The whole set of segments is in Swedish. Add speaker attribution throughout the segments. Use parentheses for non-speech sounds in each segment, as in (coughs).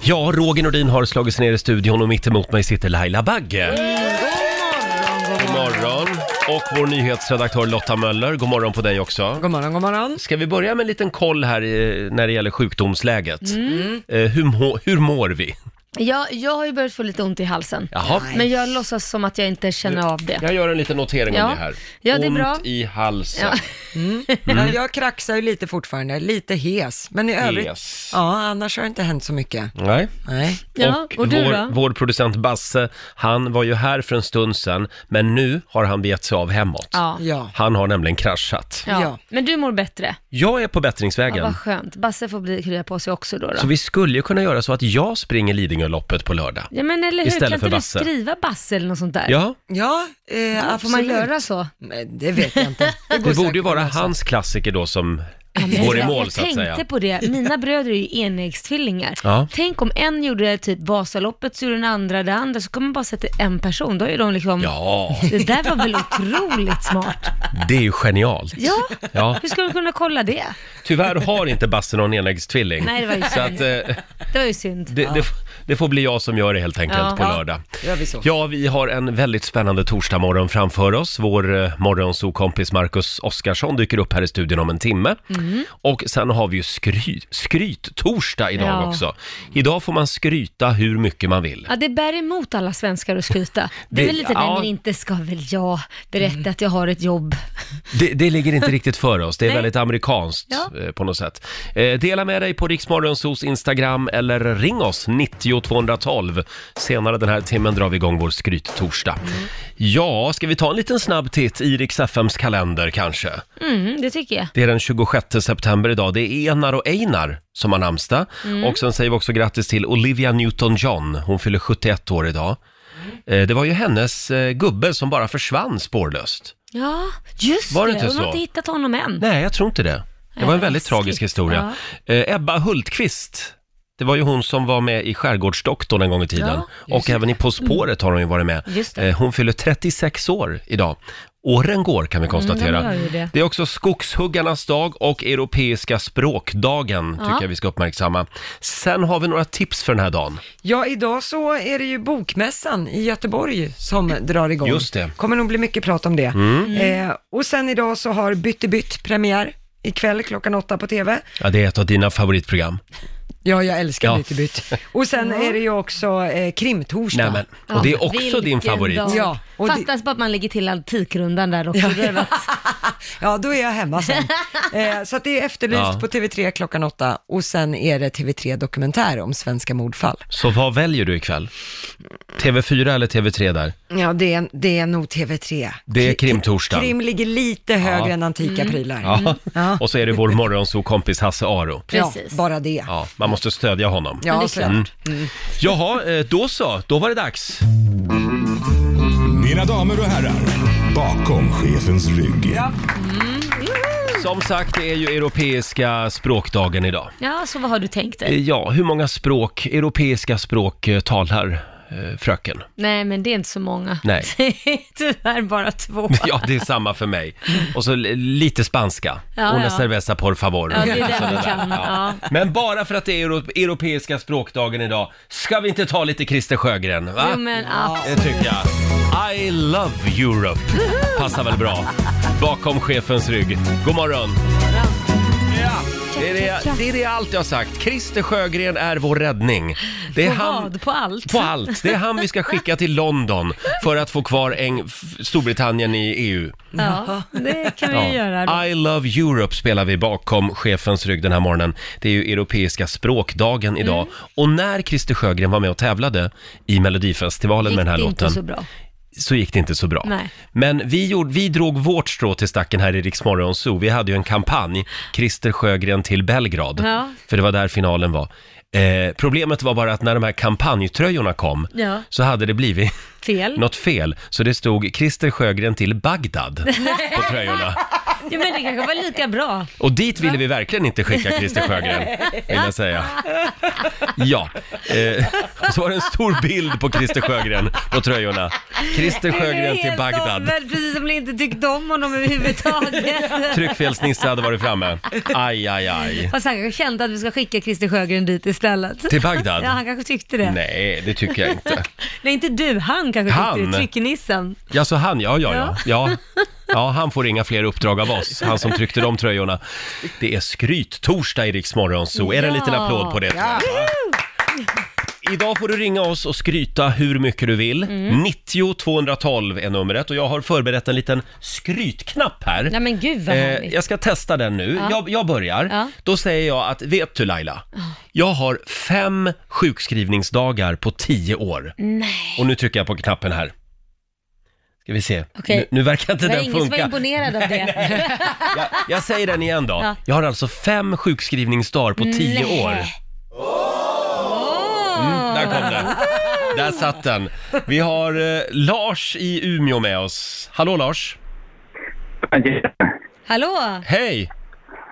Speaker 1: Ja, Roger Nordin har slagit sig ner i studion och mitt emot mig sitter Laila Bagge. God morgon! Och vår nyhetsredaktör Lotta Möller, god morgon på dig också.
Speaker 2: God morgon, god morgon.
Speaker 1: Ska vi börja med en liten koll här i, när det gäller sjukdomsläget?
Speaker 3: Mm.
Speaker 1: Eh, hur, må, hur mår vi?
Speaker 3: Jag, jag har ju börjat få lite ont i halsen.
Speaker 1: Jaha.
Speaker 3: Men jag låtsas som att jag inte känner av det.
Speaker 1: Jag gör en liten notering
Speaker 3: Ja.
Speaker 1: om det här.
Speaker 3: Ja, det är
Speaker 1: ont
Speaker 3: bra.
Speaker 1: i halsen.
Speaker 3: Ja.
Speaker 1: Mm.
Speaker 2: Ja, jag kraxar ju lite fortfarande, lite hes. Men i övrigt,
Speaker 1: Yes.
Speaker 2: ja annars har det inte hänt så mycket.
Speaker 1: Nej.
Speaker 2: Nej.
Speaker 3: Ja,
Speaker 1: och
Speaker 3: och, du
Speaker 1: vår,
Speaker 3: då?
Speaker 1: vår producent Basse, han var ju här för en stund sedan, men nu har han begett sig av hemåt.
Speaker 3: Ja. Ja.
Speaker 2: Ja.
Speaker 1: Han har nämligen kraschat.
Speaker 2: Ja.
Speaker 3: Men du mår bättre?
Speaker 1: Jag är på
Speaker 3: Ja,
Speaker 1: bättringsvägen.
Speaker 3: vad skönt. Basse får bli krya på sig också då.
Speaker 1: Så
Speaker 3: då.
Speaker 1: vi skulle ju kunna göra så att jag springer Lidingöloppet på lördag.
Speaker 3: Ja, men eller hur?
Speaker 1: Istället
Speaker 3: Kan
Speaker 1: för
Speaker 3: inte du
Speaker 1: Basse.
Speaker 3: skriva Basse eller något sånt där?
Speaker 1: Ja,
Speaker 2: Ja, eh,
Speaker 3: Får man
Speaker 2: absolut.
Speaker 3: göra så?
Speaker 2: Men det vet jag inte.
Speaker 1: (laughs)
Speaker 2: går
Speaker 1: det borde ju
Speaker 2: säkert
Speaker 1: vara
Speaker 2: att lösa.
Speaker 1: hans klassiker då som
Speaker 3: alltså. Men
Speaker 1: går i
Speaker 3: jag-
Speaker 1: mål
Speaker 3: jag
Speaker 1: så att säga.
Speaker 3: tänkte på det, mina bröder är ju enäggstvillingar.
Speaker 1: Ja.
Speaker 3: Tänk om en gjorde typ Vasaloppet, så gjorde den andra det andra, så kommer man bara sätta en person, då är de liksom,
Speaker 1: Ja,
Speaker 3: det där var väl otroligt smart.
Speaker 1: det är ju genialt.
Speaker 3: Ja,
Speaker 1: Ja.
Speaker 3: hur ska du kunna kolla det?
Speaker 1: Tyvärr har inte Basse någon enäggstvilling.
Speaker 3: Nej, det var ju
Speaker 1: Så att eh,
Speaker 3: synd.
Speaker 1: det,
Speaker 3: Det var ju synd.
Speaker 1: det, det får bli jag som gör det helt enkelt
Speaker 3: Ja.
Speaker 1: på lördag.
Speaker 2: Gör vi så.
Speaker 1: Ja, vi har en väldigt spännande torsdagmorgon framför oss. Vår eh, morgonsokompis Marcus Oskarsson dyker upp här i studion om en timme. Och sen har vi ju skry, skryt-torsdag idag
Speaker 3: Ja.
Speaker 1: också. Idag får man skryta hur mycket man vill.
Speaker 3: Ja, det bär emot alla svenskar att skryta. Det
Speaker 1: Det-
Speaker 3: är väl lite,
Speaker 1: ja. Mm.
Speaker 3: nej men inte ska väl jag berätta att jag har ett jobb.
Speaker 1: Det, det ligger inte riktigt för oss. Det är
Speaker 3: Nej.
Speaker 1: väldigt amerikanskt
Speaker 3: Ja.
Speaker 1: eh, på något sätt. Eh, dela med dig på Riksmorgonsos Instagram eller ring oss 90 212. Senare den här timmen drar vi igång vår skryttorsdag.
Speaker 3: Mm.
Speaker 1: Ja, ska vi ta en liten snabb titt i Rix FMs kalender kanske?
Speaker 3: Mm, det tycker jag.
Speaker 1: Det är den 26 september idag. Det är Enar och Einar som har namnsdag.
Speaker 3: Mm.
Speaker 1: Och sen säger vi också grattis till Olivia Newton-John. Hon fyller 71 år idag.
Speaker 3: Mm.
Speaker 1: Eh, Det var ju hennes eh, gubbe som bara försvann spårlöst.
Speaker 3: Ja, just
Speaker 1: Var det inte
Speaker 3: hon har
Speaker 1: så?
Speaker 3: inte hittat honom än.
Speaker 1: Nej, jag tror inte det. Det var en
Speaker 3: Nej,
Speaker 1: väldigt
Speaker 3: läskigt.
Speaker 1: tragisk historia. Eh, Ebba Hultqvist, det var ju hon som var med i Skärgårdsdoktorn en gång i tiden.
Speaker 2: just
Speaker 1: och även i På spåret har hon ju varit med.
Speaker 3: Mm. Just det.
Speaker 1: Eh, hon fyller 36 år idag. Åren går kan vi konstatera.
Speaker 3: Mm, de gör ju det.
Speaker 1: är också skogshuggarnas dag och europeiska språkdagen tycker
Speaker 3: Ja.
Speaker 1: jag vi ska uppmärksamma. Sen har vi några tips för den här dagen.
Speaker 2: Ja, idag så är det ju Bokmässan i Göteborg som drar igång.
Speaker 1: Just Mm. det.
Speaker 2: kommer nog bli mycket prat om det. Eh, och sen idag så har Bytte bytt premiär ikväll klockan åtta på TV.
Speaker 1: Ja, det är ett av dina favoritprogram.
Speaker 2: Ja, jag älskar
Speaker 1: Ja.
Speaker 2: Bytte bytt. Och sen är det ju också eh, Krimtorsdag.
Speaker 1: Nej, men, Eh, och det är också din
Speaker 3: vilken
Speaker 1: favorit.
Speaker 3: dag.
Speaker 2: Ja, och det-
Speaker 3: Fattas bara att man lägger till antikrundan där också. Det är väl-
Speaker 2: Ja, då är jag hemma (laughs) sen. Eh, så att det är Efterlyst
Speaker 1: Ja.
Speaker 2: på TV3 klockan åtta och sen är det TV3 Dokumentär om svenska mordfall.
Speaker 1: Så vad väljer du ikväll? TV4 eller TV3 där?
Speaker 2: Ja, det är, det är nog TV3.
Speaker 1: Det är
Speaker 2: Kri-
Speaker 1: krimtorsdagen.
Speaker 2: Krim ligger lite högre än antika prylar.
Speaker 1: Ja.
Speaker 3: Mm.
Speaker 2: Ja.
Speaker 1: Och så är det vår morgonsokompis Hasse Aro.
Speaker 2: Ja,
Speaker 3: Precis.
Speaker 2: bara det. Ja,
Speaker 1: Ja, Mm. man måste stödja honom.
Speaker 3: det är
Speaker 2: så-
Speaker 3: klart.
Speaker 1: Jaha, eh, då så. Då var det dags.
Speaker 4: Mina damer och herrar, bakom chefens rygg.
Speaker 1: Som sagt, det är ju europeiska språkdagen idag.
Speaker 3: Ja, så vad har du tänkt
Speaker 1: Eh,
Speaker 3: dig?
Speaker 1: Ja, hur många språk, europeiska språk eh, talar eh, fröken? (laughs)
Speaker 3: Nej, men (laughs) det är inte så många.
Speaker 1: Nej.
Speaker 3: Tyvärr bara två.
Speaker 1: (laughs) Ja, det är samma för mig. Och så l- lite spanska.
Speaker 3: Ja,
Speaker 1: Una
Speaker 3: ja.
Speaker 1: cerveza por favor. (laughs)
Speaker 3: Ja, det är det
Speaker 1: Sådana
Speaker 3: man
Speaker 1: där.
Speaker 3: kan. Ja.
Speaker 1: Men bara för att det är euro- europeiska språkdagen idag, ska vi inte ta lite Christer Sjögren? Va?
Speaker 3: Jo, men ah, ja.
Speaker 1: Det tycker jag. I love Europe. Passar väl bra. Bakom chefens rygg. God morgon. Ja, det är det, det är det allt jag har sagt. Christer Sjögren är vår räddning. Det är
Speaker 3: På vad? På allt?
Speaker 1: På allt. Det är han vi ska skicka till London för att få kvar Eng F- Storbritannien i EU.
Speaker 3: ja, det kan vi ju göra. då.
Speaker 1: I love Europe spelar vi bakom chefens rygg den här morgonen. Det är ju europeiska språkdagen idag.
Speaker 3: Mm.
Speaker 1: Och när Christer Sjögren var med och tävlade i Melodifestivalen
Speaker 3: Gick
Speaker 1: med den här
Speaker 3: det
Speaker 1: låten
Speaker 3: inte så bra.
Speaker 1: så gick det inte så bra.
Speaker 3: Nej.
Speaker 1: Men vi, gjorde, vi drog vårt strå till stacken här i Rix Morgon Zoo. Vi hade ju en kampanj, Christer Sjögren till Belgrad,
Speaker 3: Ja.
Speaker 1: för det var där finalen var. Eh, problemet var bara att när de här kampanjtröjorna kom
Speaker 3: Ja.
Speaker 1: så hade det blivit (laughs)
Speaker 3: Fel. (laughs)
Speaker 1: något fel, så det stod Christer Sjögren till Bagdad på tröjorna.
Speaker 3: Ja, men det kanske var lika bra.
Speaker 1: Och dit ville vi verkligen inte skicka Christer Sjögren, vill jag säga. Ja, eh, och så var det en stor bild på Christer Sjögren på tröjorna. Christer
Speaker 3: Det är
Speaker 1: Sjögren till
Speaker 3: helt
Speaker 1: Bagdad.
Speaker 3: omvänt, precis som ni inte tyckte om
Speaker 1: (laughs)
Speaker 3: honom överhuvudtaget.
Speaker 1: Tryckfelsnisse hade varit framme. Aj, aj, aj.
Speaker 3: Fast han kanske kände att vi ska skicka Christer Sjögren dit istället.
Speaker 1: Till Bagdad?
Speaker 3: (laughs) Ja, han kanske tyckte det. Nej,
Speaker 1: Nej, det tycker jag
Speaker 3: (laughs)
Speaker 1: inte.
Speaker 3: inte du, han kanske tyckte
Speaker 1: Han?
Speaker 3: det. Trycknissen.
Speaker 1: Ja, så han, ja, ja, ja. Ja, ja han får inga fler uppdrag av oss, han som tryckte de tröjorna. Det är skryttorsdag i Rix Morgon, så är det en liten
Speaker 3: Ja.
Speaker 1: applåd på det? Ja. Idag får du ringa oss och skryta hur mycket du vill.
Speaker 3: Mm.
Speaker 1: 90 212 är numret och jag har förberett en liten skrytknapp här.
Speaker 3: Nej men gud vad
Speaker 1: Eh,
Speaker 3: härligt.
Speaker 1: jag ska testa den nu.
Speaker 3: Ja.
Speaker 1: Jag, jag börjar.
Speaker 3: Ja. Ah.
Speaker 1: Då säger jag att, vet du Laila? Jag har fem sjukskrivningsdagar på tio år.
Speaker 3: Nej.
Speaker 1: Och nu trycker jag på knappen här. Ska vi se.
Speaker 3: Okej.
Speaker 1: Nu, nu verkar inte
Speaker 3: Det var
Speaker 1: den
Speaker 3: ingen som var
Speaker 1: funka.
Speaker 3: imponerad
Speaker 1: (laughs)
Speaker 3: av det.
Speaker 1: Jag, jag säger den igen då.
Speaker 3: Ja.
Speaker 1: Jag har alltså fem sjukskrivningsdagar på tio
Speaker 3: Nej.
Speaker 1: år. Mm, Där kom den. Där satt den. Vi har eh, Lars i Umeå med oss. Hallå Lars!
Speaker 3: Hallå!
Speaker 1: Hej!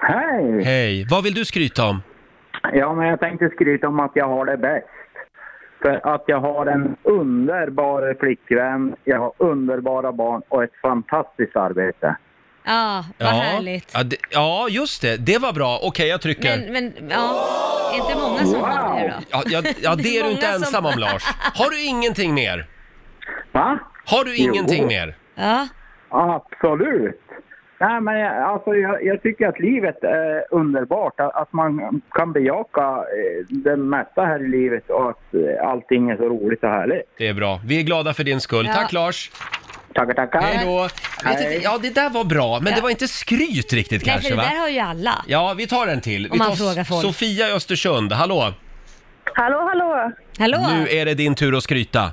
Speaker 5: Hej!
Speaker 1: Hej! Vad vill du skryta om?
Speaker 5: Ja, men jag tänkte skryta om att jag har det bäst. För att jag har en underbar flickvän, jag har underbara barn och ett fantastiskt arbete.
Speaker 3: Ja, vad härligt.
Speaker 1: Ja, det, ja, just det. Det var bra. Okej, jag trycker.
Speaker 3: Men, men, ja. Är inte många som har det då?
Speaker 1: Ja, ja, ja,
Speaker 3: (laughs) Det
Speaker 1: det
Speaker 3: är
Speaker 1: är du inte
Speaker 3: många som-
Speaker 1: ensam om Lars. Har du ingenting mer?
Speaker 5: Va?
Speaker 1: Har du
Speaker 5: Jo.
Speaker 1: ingenting mer?
Speaker 3: Ja.
Speaker 5: Absolut! Nej, men jag, alltså, jag, jag tycker att livet är underbart. Att, att man kan bejaka eh, det mesta här i livet och att eh, allting är så roligt och härligt.
Speaker 1: Det är bra. Vi är glada för din skull.
Speaker 3: Ja.
Speaker 1: Tack Lars!
Speaker 5: Tackar, tackar!
Speaker 1: Hej då! Jag vet
Speaker 5: Hej.
Speaker 1: inte- Ja, det där var bra, men det var inte skryt riktigt
Speaker 3: Nej, för
Speaker 1: kanske
Speaker 3: det
Speaker 1: va?
Speaker 3: där har ju alla.
Speaker 1: Ja, vi tar en till. Vi
Speaker 3: man
Speaker 1: tar
Speaker 3: frågar folk.
Speaker 1: Sofia i Östersund, hallå!
Speaker 6: Hallå, hallå!
Speaker 3: Hallå!
Speaker 1: Nu är det din tur att skryta.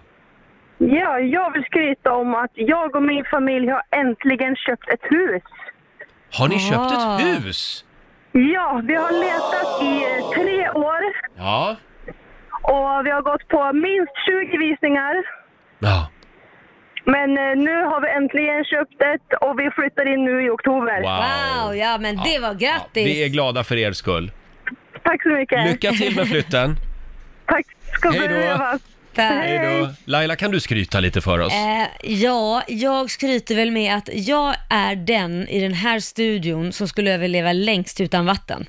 Speaker 6: Ja, jag vill skryta om att jag och min familj har äntligen köpt ett hus.
Speaker 1: Har ni köpt
Speaker 3: Ah.
Speaker 1: ett hus?
Speaker 6: Ja, vi har letat i tre år
Speaker 1: Ja.
Speaker 6: och vi har gått på minst 20 visningar.
Speaker 1: Ja.
Speaker 6: Men eh, nu har vi äntligen köpt ett och vi flyttar in nu i oktober.
Speaker 3: Wow, ja men det var
Speaker 1: Ja,
Speaker 3: grattis!
Speaker 1: vi är glada för er skull.
Speaker 6: Tack så mycket!
Speaker 1: Lycka till med
Speaker 3: (laughs)
Speaker 1: flytten.
Speaker 6: Tack ska
Speaker 1: Hej
Speaker 6: du
Speaker 1: då.
Speaker 6: ha!
Speaker 3: Där.
Speaker 1: Hej då. Laila, kan du skryta lite för oss?
Speaker 3: Eh, ja, jag skryter väl med att jag är den i den här studion som skulle överleva längst
Speaker 1: (laughs)
Speaker 3: utan vatten.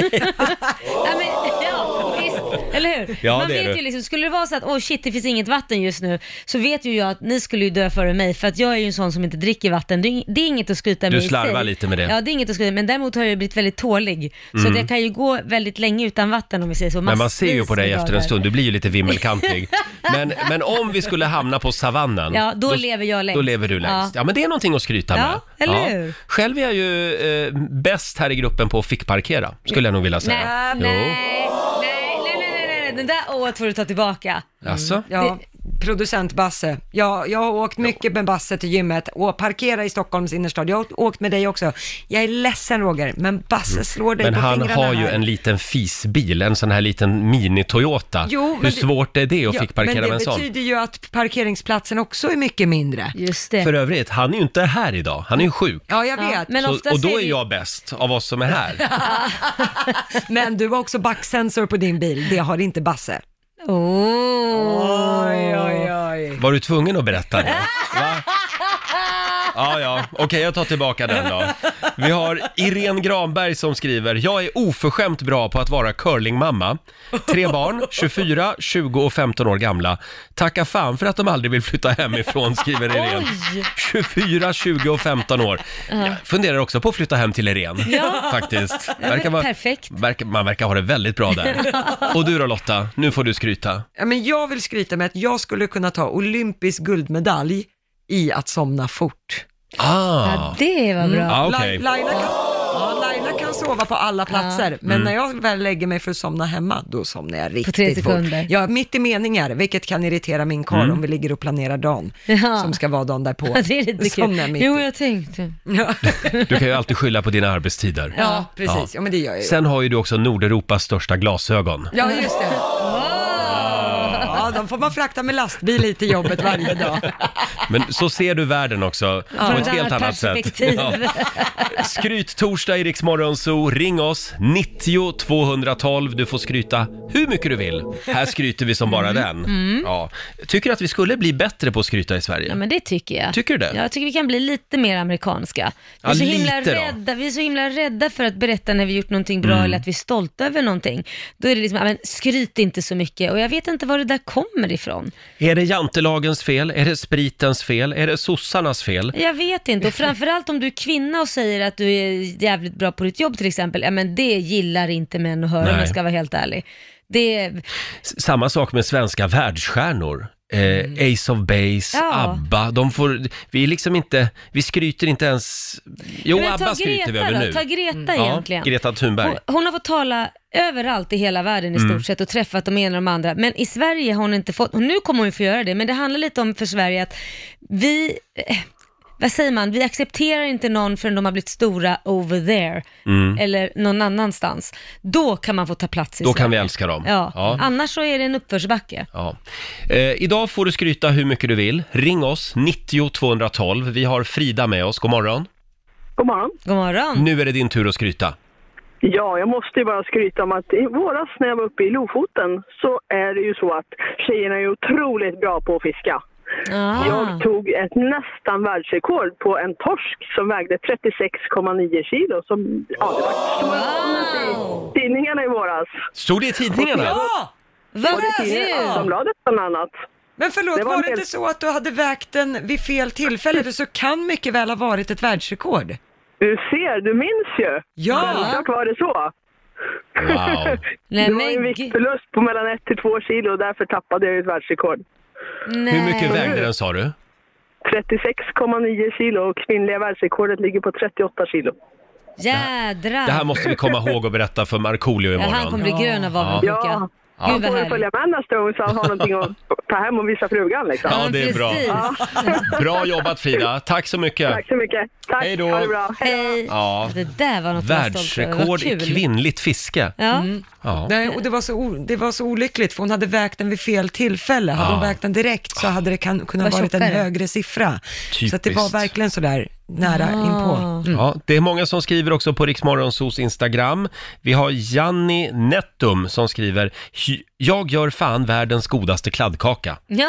Speaker 3: ja, men, ja, visst, eller hur?
Speaker 1: Ja,
Speaker 3: Man
Speaker 1: det är
Speaker 3: vet
Speaker 1: du.
Speaker 3: ju liksom, skulle det vara så att åh shit, det finns inget vatten just nu, så vet ju jag att ni skulle ju dö före mig, för att jag är ju en sån som inte dricker vatten. Det är, ing- det är inget att skryta
Speaker 1: Du
Speaker 3: med i sig.
Speaker 1: slarvar lite med det. Mm.
Speaker 3: Ja, det är inget att skryta med, men däremot har jag ju blivit väldigt tålig. Så att jag kan ju gå väldigt länge utan vatten om vi säger så.
Speaker 1: Men man ser ju
Speaker 3: massvis
Speaker 1: på dig
Speaker 3: med
Speaker 1: efter en
Speaker 3: dagar.
Speaker 1: stund, du blir ju lite
Speaker 3: (laughs)
Speaker 1: vimmelkantig. Men, men om vi skulle hamna på savannen,
Speaker 3: Ja, då lever jag längst.
Speaker 1: Då lever du längst. Ja. men det är någonting att skryta
Speaker 3: Ja,
Speaker 1: med.
Speaker 3: eller hur?
Speaker 1: Själv är jag ju eh, bäst här i gruppen på att fickparkera, skulle jag nog vilja säga.
Speaker 3: Nej, nej, nej, nej, nej, nej, nej, den där året får du ta tillbaka.
Speaker 1: Jo. Alltså?
Speaker 2: Ja, producent Basse. Ja, jag har åkt mycket med Basse till gymmet och parkera i Stockholms innerstad. Jag har åkt med dig också. Jag är ledsen Roger, men Basse slår dig
Speaker 1: Mm. Men
Speaker 2: på
Speaker 1: han
Speaker 2: fingrarna
Speaker 1: har ju
Speaker 2: här.
Speaker 1: en liten fisbil, en sån här liten mini-Toyota.
Speaker 2: Jo,
Speaker 1: Hur
Speaker 2: men det-
Speaker 1: svårt är det att
Speaker 2: Ja,
Speaker 1: fickparkera med en
Speaker 2: Men det
Speaker 1: sån?
Speaker 2: betyder ju att parkeringsplatsen också är mycket mindre.
Speaker 3: Just det.
Speaker 1: För övrigt, han är ju inte här idag, han är ju sjuk.
Speaker 2: Ja, jag
Speaker 3: Ja,
Speaker 2: vet.
Speaker 3: men
Speaker 1: Så,
Speaker 3: ofta
Speaker 1: och då
Speaker 3: ser
Speaker 1: är
Speaker 3: vi-
Speaker 1: jag bäst av oss som är här.
Speaker 2: (laughs) Men du har också backsensor på din bil, det har inte Basse.
Speaker 3: (laughs) Oh.
Speaker 2: oj.
Speaker 1: Var du tvungen att berätta
Speaker 3: (laughs)
Speaker 1: det? Va? Ja, ja. Okej, jag tar tillbaka den då. Vi har Irene Granberg som skriver, jag är oförskämt bra på att vara curlingmamma. Tre barn, 24, 20 och 15 år gamla. Tacka fan för att de aldrig vill flytta hemifrån, skriver Irene. 24, 20 och 15 år. Jag funderar också på att flytta hem till Irene, faktiskt. Verkar vara,
Speaker 3: Perfekt.
Speaker 1: verkar, man verkar ha det väldigt bra
Speaker 3: (laughs)
Speaker 1: där. Och du då Lotta, nu får du skryta.
Speaker 2: Ja, men jag vill skryta med att jag skulle kunna ta olympisk guldmedalj i att somna fort.
Speaker 1: Ah,
Speaker 3: Ja, det var bra.
Speaker 1: ah okej.
Speaker 2: Lai- Laila, kan, ja, Laila kan sova på alla platser, men
Speaker 6: Mm.
Speaker 2: när jag väl lägger mig för att somna hemma, då somnar jag riktigt
Speaker 3: tre sekunder.
Speaker 2: fort. Ja, mitt i meningar, vilket kan irritera min karl
Speaker 6: Mm.
Speaker 2: om vi ligger och planerar dagen,
Speaker 3: Ja.
Speaker 2: som ska vara dagen därpå.
Speaker 3: (laughs) Ja, det är lite
Speaker 2: Somnar jag
Speaker 3: kul.
Speaker 2: mitt
Speaker 3: Jo,
Speaker 2: i.
Speaker 3: jag tänkte.
Speaker 2: (laughs) Ja,
Speaker 1: Du kan ju alltid skylla på dina arbetstider.
Speaker 2: ja, precis. Ja, men det gör jag ju.
Speaker 1: Sen har ju du också Nordeuropas största glasögon.
Speaker 2: Ja, just det.
Speaker 3: Wow.
Speaker 6: Ah.
Speaker 2: Ja, de får man frakta med lastbil hit till jobbet varje
Speaker 6: (laughs)
Speaker 2: dag.
Speaker 1: Men så ser du världen också på
Speaker 3: Från
Speaker 1: ett
Speaker 3: ett
Speaker 1: helt
Speaker 3: annat
Speaker 1: annat sätt.
Speaker 3: perspektiv.
Speaker 1: Skryttorsdag i Rix Morgon Zoo. Ring oss, 90 212. Du får skryta hur mycket du vill. Här skryter vi som bara
Speaker 3: Mm.
Speaker 1: den. Ja. Tycker att vi skulle bli bättre på att skryta i Sverige?
Speaker 3: (laughs) Ja, men det tycker jag.
Speaker 1: Tycker du det?
Speaker 3: Ja, Jag tycker vi kan bli lite mer amerikanska. Vi
Speaker 1: Ja,
Speaker 3: är, så himla
Speaker 1: lite då. Mm.
Speaker 3: rädda, vi är så himla rädda för att berätta när vi gjort någonting bra eller att vi är stolta över någonting. Då är det liksom, "Ja, men skryt inte så mycket och jag vet inte var det där kommer ifrån.
Speaker 1: Är det jantelagens fel? Är det spritens fel? Är det sossarnas fel?
Speaker 3: Jag vet inte och framförallt om du är kvinna och säger att du är jävligt bra på ditt jobb till exempel, ja men det gillar inte män att höra om
Speaker 1: Nej.
Speaker 3: jag ska vara helt ärlig. Det,
Speaker 1: S- Samma sak med svenska världsstjärnor. Eh, Ace of Base,
Speaker 3: Mm. Ja.
Speaker 1: ABBA, de får, vi är liksom inte, vi skryter inte ens, jo
Speaker 3: Men ta
Speaker 1: ABBA skryter vi
Speaker 3: Greta
Speaker 1: över
Speaker 3: då,
Speaker 1: nu. Mm.
Speaker 3: Ta Greta egentligen.
Speaker 1: Greta Thunberg. Mm.
Speaker 3: Hon, hon har fått tala överallt i hela världen i stort sett och träffat de ena och de andra. Men i Sverige har hon inte fått, och nu kommer hon ju få göra det, men det handlar lite om för Sverige att vi, eh, vad säger man, vi accepterar inte någon förrän de har blivit stora over there eller någon annanstans. Då kan man få ta plats i
Speaker 1: Mm. Då
Speaker 3: Sverige.
Speaker 1: kan vi älska dem.
Speaker 3: Ja.
Speaker 1: Ja.
Speaker 3: annars så är det en uppförsbacke.
Speaker 1: Ja. Eh, idag får du skryta hur mycket du vill. Ring oss, 90 212. Vi har Frida med oss. God morgon.
Speaker 6: God morgon.
Speaker 3: God morgon.
Speaker 1: Nu är det din tur att skryta.
Speaker 6: Ja, jag måste ju bara skryta om att i våras när jag var uppe i Lofoten så är det ju så att tjejerna är otroligt bra på att fiska. Mm.
Speaker 3: Ah.
Speaker 6: Jag tog ett nästan världsrekord på en torsk som vägde 36,9 kilo. Som, ja, det
Speaker 3: Ah.
Speaker 6: var stora
Speaker 3: Wow!
Speaker 6: i tidningarna i våras.
Speaker 3: Ah.
Speaker 1: Stod det i tidningarna?
Speaker 2: Ja,
Speaker 3: Vad
Speaker 6: Och det
Speaker 3: kul!
Speaker 6: tidningar Aftonbladet bland annat.
Speaker 2: men förlåt,
Speaker 6: Det var
Speaker 2: var
Speaker 6: en
Speaker 2: det
Speaker 6: del-
Speaker 2: inte så att du hade vägt den vid fel tillfälle? För så kan mycket väl ha varit ett världsrekord.
Speaker 6: Du ser, du minns ju.
Speaker 2: Ja,
Speaker 6: Självklart var det (laughs) så.
Speaker 1: Wow.
Speaker 3: Nej,
Speaker 6: det var ju
Speaker 3: men
Speaker 6: en
Speaker 3: gud.
Speaker 6: viktförlust på mellan 1 till 2 kilo och därför tappade jag ju ett världsrekord.
Speaker 3: Nej.
Speaker 1: Hur mycket vägde den sa du?
Speaker 6: 36,9 kilo och kvinnliga världsrekordet ligger på 38 kilo.
Speaker 3: Jädrar.
Speaker 1: Det här måste vi komma ihåg och berätta för Markoolio
Speaker 3: ja, han kommer
Speaker 1: imorgon.
Speaker 3: bli grön av avundsjuka.
Speaker 6: Ja.
Speaker 3: Gud
Speaker 6: Han
Speaker 3: vad
Speaker 6: får väl
Speaker 3: härligt.
Speaker 6: följa med nästa gång så han har någonting
Speaker 3: (laughs)
Speaker 6: att ta hem och visa frugan liksom.
Speaker 1: Ja, det är bra.
Speaker 3: precis.
Speaker 1: Bra jobbat Frida, tack så mycket.
Speaker 6: Tack så mycket. Tack,
Speaker 1: Hej då.
Speaker 6: ha det bra.
Speaker 3: Hej.
Speaker 1: Ja.
Speaker 3: Det där var något att vara stolt över. Vad
Speaker 1: Världsrekord i
Speaker 3: kul.
Speaker 1: kvinnligt fiske.
Speaker 3: Ja.
Speaker 6: Mm.
Speaker 1: Ja.
Speaker 2: Nej, och det var, så o- det var så olyckligt för hon hade vägt den vid fel tillfälle. Hade hon
Speaker 1: Ja.
Speaker 2: vägt den direkt så hade det kan, kunnat
Speaker 3: Vad
Speaker 2: varit en
Speaker 3: tjockare.
Speaker 2: högre siffra. Så att det var
Speaker 1: Typiskt.
Speaker 2: verkligen sådär nära
Speaker 3: Ah.
Speaker 2: inpå.
Speaker 3: Mm.
Speaker 1: Ja, det är många som skriver också på Riksmorgonsos Instagram. Vi har Janni Nettum som skriver "Hy- “Jag gör fan världens godaste kladdkaka”.
Speaker 3: Ja.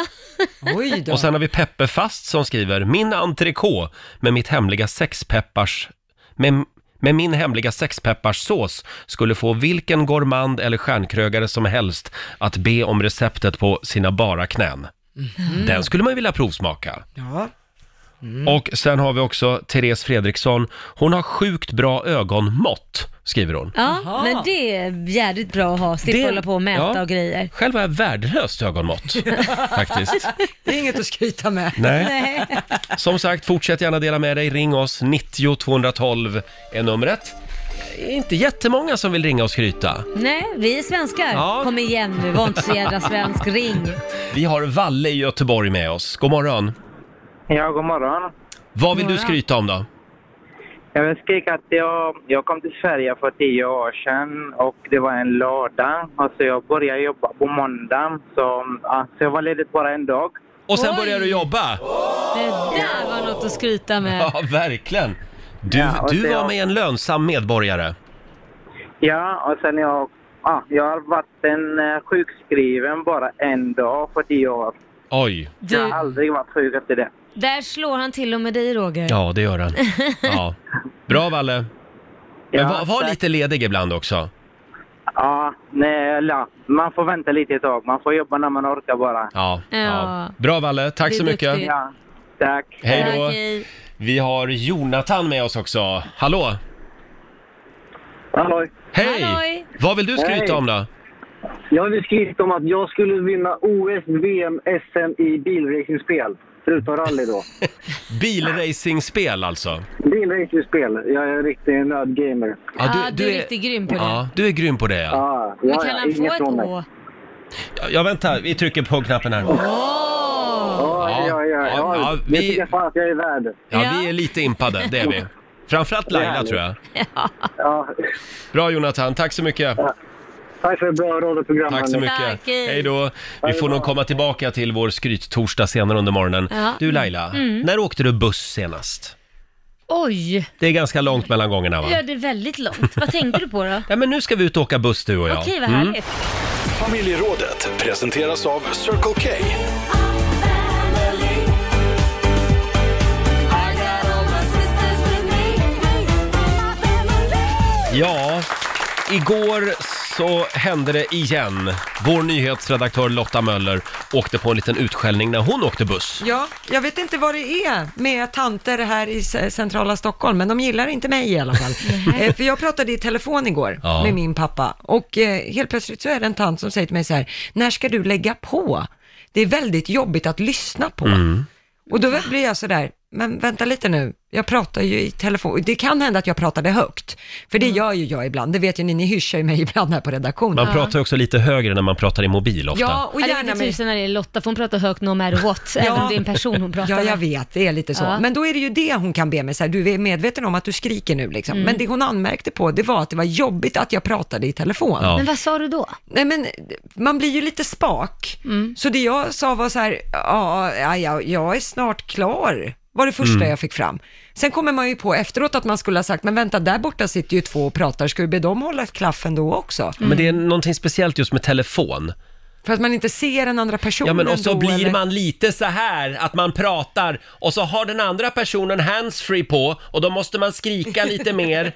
Speaker 2: Oj då.
Speaker 1: Och sen har vi Peppe Fast som skriver “Min entrecote med mitt hemliga sexpeppars... Med, med min hemliga sexpepparssås skulle få vilken gourmand eller stjärnkrögare som helst att be om receptet på sina bara knän.
Speaker 3: Mm.
Speaker 1: Den skulle man ju vilja provsmaka.
Speaker 2: Ja.
Speaker 1: Och sen har vi också Therese Fredriksson. Hon har sjukt bra ögonmått, skriver hon.
Speaker 3: ja, men det är jävligt bra att ha. Slippa
Speaker 1: Det-
Speaker 3: hålla på och mäta
Speaker 1: ja. (laughs)
Speaker 3: och grejer.
Speaker 1: Själv har jag värdelöst ögonmått, faktiskt.
Speaker 2: Det är inget att skryta med.
Speaker 1: Nej.
Speaker 3: Nej.
Speaker 1: Som sagt, fortsätt gärna dela med dig. Ring oss, 90 212 är numret. Det är inte jättemånga som vill ringa och skryta.
Speaker 3: Nej, vi är svenskar.
Speaker 1: Ja.
Speaker 3: Kom igen nu, var inte så jädra svensk. Ring.
Speaker 1: Vi har Valle i Göteborg med oss. God morgon.
Speaker 7: Ja, god morgon.
Speaker 1: Vad vill du
Speaker 3: Morgon.
Speaker 1: skryta om då?
Speaker 7: Jag vill skrika att jag, jag kom till Sverige för tio år sedan och det var en lördag. Alltså jag började jobba på måndag, så, ja, så jag var ledig bara en dag.
Speaker 1: Och sen
Speaker 3: Oj.
Speaker 1: börjar du jobba!
Speaker 3: Det där var något att skryta med.
Speaker 1: Ja, verkligen. Du,
Speaker 7: Ja, och
Speaker 1: du
Speaker 7: det-
Speaker 1: var med en lönsam medborgare.
Speaker 7: Ja, och sen jag, ja, jag har varit en, eh, sjukskriven bara en dag för tio år.
Speaker 1: Oj.
Speaker 7: Jag
Speaker 3: Du,
Speaker 7: har aldrig varit sjuk efter det.
Speaker 3: där slår han till och med dig Roger.
Speaker 1: Ja, det
Speaker 3: (laughs)
Speaker 1: gör han. Ja. Bra, Valle. Men
Speaker 7: Ja,
Speaker 1: var, var
Speaker 7: tack.
Speaker 1: lite ledig ibland också.
Speaker 7: Ja, nej, eller ja, man får vänta lite ett tag. Man får jobba när man orkar bara.
Speaker 1: Ja. ja.
Speaker 3: Ja.
Speaker 1: Bra, Valle. Tack
Speaker 3: Du är
Speaker 1: så mycket.
Speaker 3: duktig.
Speaker 7: Ja, tack.
Speaker 1: Hej då.
Speaker 3: Tack, hej.
Speaker 1: Vi har Jonathan med oss också. Hallå!
Speaker 8: Halloj.
Speaker 1: Hej!
Speaker 3: Halloj.
Speaker 1: Vad vill du skryta
Speaker 8: Hej.
Speaker 1: om då?
Speaker 8: Jag vill skriva om att jag skulle vinna OS, VM, SM i bilracingspel. Förutom rally då.
Speaker 1: Bilracingspel alltså?
Speaker 8: Bilracingspel. Jag är en riktig nördgamer.
Speaker 1: Ja,
Speaker 3: Ah, du är riktigt grym på det.
Speaker 1: Ja, du är grym på det ja.
Speaker 8: Ah,
Speaker 3: Men
Speaker 8: ja,
Speaker 3: kan
Speaker 8: ja,
Speaker 3: han få
Speaker 8: inget
Speaker 3: ett
Speaker 8: från mig.
Speaker 3: Å?
Speaker 1: ja. Ja, vänta, vi trycker på knappen här.
Speaker 3: Åh!
Speaker 8: Ja,
Speaker 1: Ja,
Speaker 8: ja, ja. ja,
Speaker 1: ja, ja,
Speaker 8: Det
Speaker 1: vi-
Speaker 8: tycker jag fan att jag är värd.
Speaker 1: Ja,
Speaker 3: Ja.
Speaker 1: vi är lite impade, det är vi. Framförallt Laila tror jag.
Speaker 8: Ja,
Speaker 1: Bra Jonathan, tack så mycket.
Speaker 8: Tack för ett bra radioprogram.
Speaker 1: Tack så
Speaker 8: hörni.
Speaker 1: mycket.
Speaker 3: Tack, hej.
Speaker 1: Hej då. Vi får nog komma tillbaka till vår skryttorsdag senare under morgonen.
Speaker 3: Ja. Mm.
Speaker 1: Du Laila, när åkte du buss senast?
Speaker 3: Oj,
Speaker 1: Det är ganska långt mellan gångerna va?
Speaker 3: ja, det är väldigt långt. Vad tänkte du
Speaker 1: (laughs)
Speaker 3: på då?
Speaker 1: Ja, men nu ska vi ut och åka buss du och jag.
Speaker 3: Okej, vad härligt.
Speaker 1: Mm.
Speaker 4: Familjerådet presenteras av Circle K.
Speaker 1: Ja, igår så hände det igen. Vår nyhetsredaktör Lotta Möller åkte på en liten utskällning när hon åkte buss.
Speaker 2: Ja, jag vet inte vad det är med tanter här i c- centrala Stockholm, men de gillar inte mig i
Speaker 1: (laughs)
Speaker 2: alla fall. Eh, För jag pratade i telefon igår
Speaker 1: Ja.
Speaker 2: med min pappa och eh, helt plötsligt så är det en tant som säger till mig så här, när ska du lägga på? Det är väldigt jobbigt att lyssna på.
Speaker 1: Mm.
Speaker 2: Och då blir jag så där, men vänta lite nu, jag pratar ju i telefon, det kan hända att jag pratade högt, för det gör ju jag ibland, det vet ju ni, ni hyschar ju mig (laughs) ibland här på redaktionen.
Speaker 1: Mm. Man pratar ju också lite högre när man pratar i mobil ofta.
Speaker 2: Ja, och
Speaker 3: Ja, det
Speaker 2: gärna
Speaker 3: är
Speaker 2: med
Speaker 3: tusen när det är Lotta, för hon pratar högt no matter what, även om det är en person hon pratar
Speaker 2: Ja, jag
Speaker 3: med.
Speaker 2: vet, det är lite så.
Speaker 3: Ja.
Speaker 2: Men då är det ju det hon kan be mig, så här, du är medveten om att du skriker nu liksom.
Speaker 3: Mm.
Speaker 2: Men det hon anmärkte på, det var att det var jobbigt att jag pratade i telefon.
Speaker 1: Ja.
Speaker 3: Men vad
Speaker 2: (laughs)
Speaker 3: sa du då?
Speaker 2: Nej men, man blir ju lite spak.
Speaker 3: Mm.
Speaker 2: Så det jag sa var så här, ja, ja, ja, jag är snart klar var det första
Speaker 1: Mm.
Speaker 2: jag fick fram. Sen kommer man ju på efteråt att man skulle ha sagt, men vänta, där borta sitter ju två och pratar, ska vi be dem hålla klaffen då också?
Speaker 1: Men det är
Speaker 3: mm.
Speaker 1: någonting speciellt just med telefon.
Speaker 2: För att man inte ser den andra personen
Speaker 1: Ja, men och så
Speaker 2: då,
Speaker 1: blir
Speaker 2: eller-
Speaker 1: man lite så här att man pratar och så har den andra personen handsfree på och då måste man
Speaker 2: (laughs)
Speaker 1: skrika lite mer.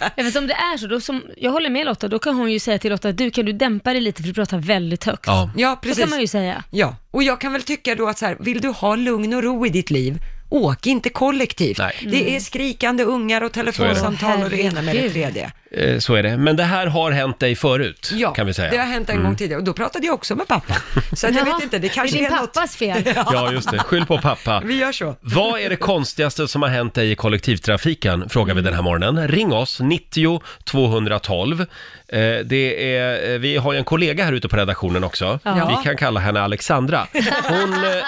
Speaker 3: Ja, för som det är så, då som, jag håller med Lotta, då kan hon ju säga till Lotta, du kan du dämpa dig lite för du pratar väldigt högt.
Speaker 1: Ja.
Speaker 2: Ja,
Speaker 3: Så
Speaker 2: precis.
Speaker 3: kan man ju säga.
Speaker 2: Ja, och jag kan väl tycka då att så här, vill du ha lugn och ro i ditt liv, åk inte kollektivt.
Speaker 1: Nej.
Speaker 2: Det är skrikande ungar och telefonsamtal och det ena med det
Speaker 3: Herregud.
Speaker 2: tredje.
Speaker 1: Eh, Så är det. Men det här har hänt dig förut,
Speaker 2: Ja,
Speaker 1: kan vi säga. Mm.
Speaker 2: det har hänt en gång tidigare och då pratade jag också med pappa. Så att jag
Speaker 3: Jaha,
Speaker 2: vet inte, det kanske
Speaker 3: det är
Speaker 2: är,
Speaker 3: din
Speaker 2: något... (laughs)
Speaker 3: pappas fel.
Speaker 1: Ja, just det. Skyll på pappa.
Speaker 2: Vi gör så.
Speaker 1: Vad är det konstigaste som har hänt dig i kollektivtrafiken? Frågar vi den här morgonen. Ring oss, 90 212. Eh, det är, eh, vi har ju en kollega här ute på redaktionen också.
Speaker 3: Ja.
Speaker 1: Vi kan kalla henne Alexandra. Hon, eh,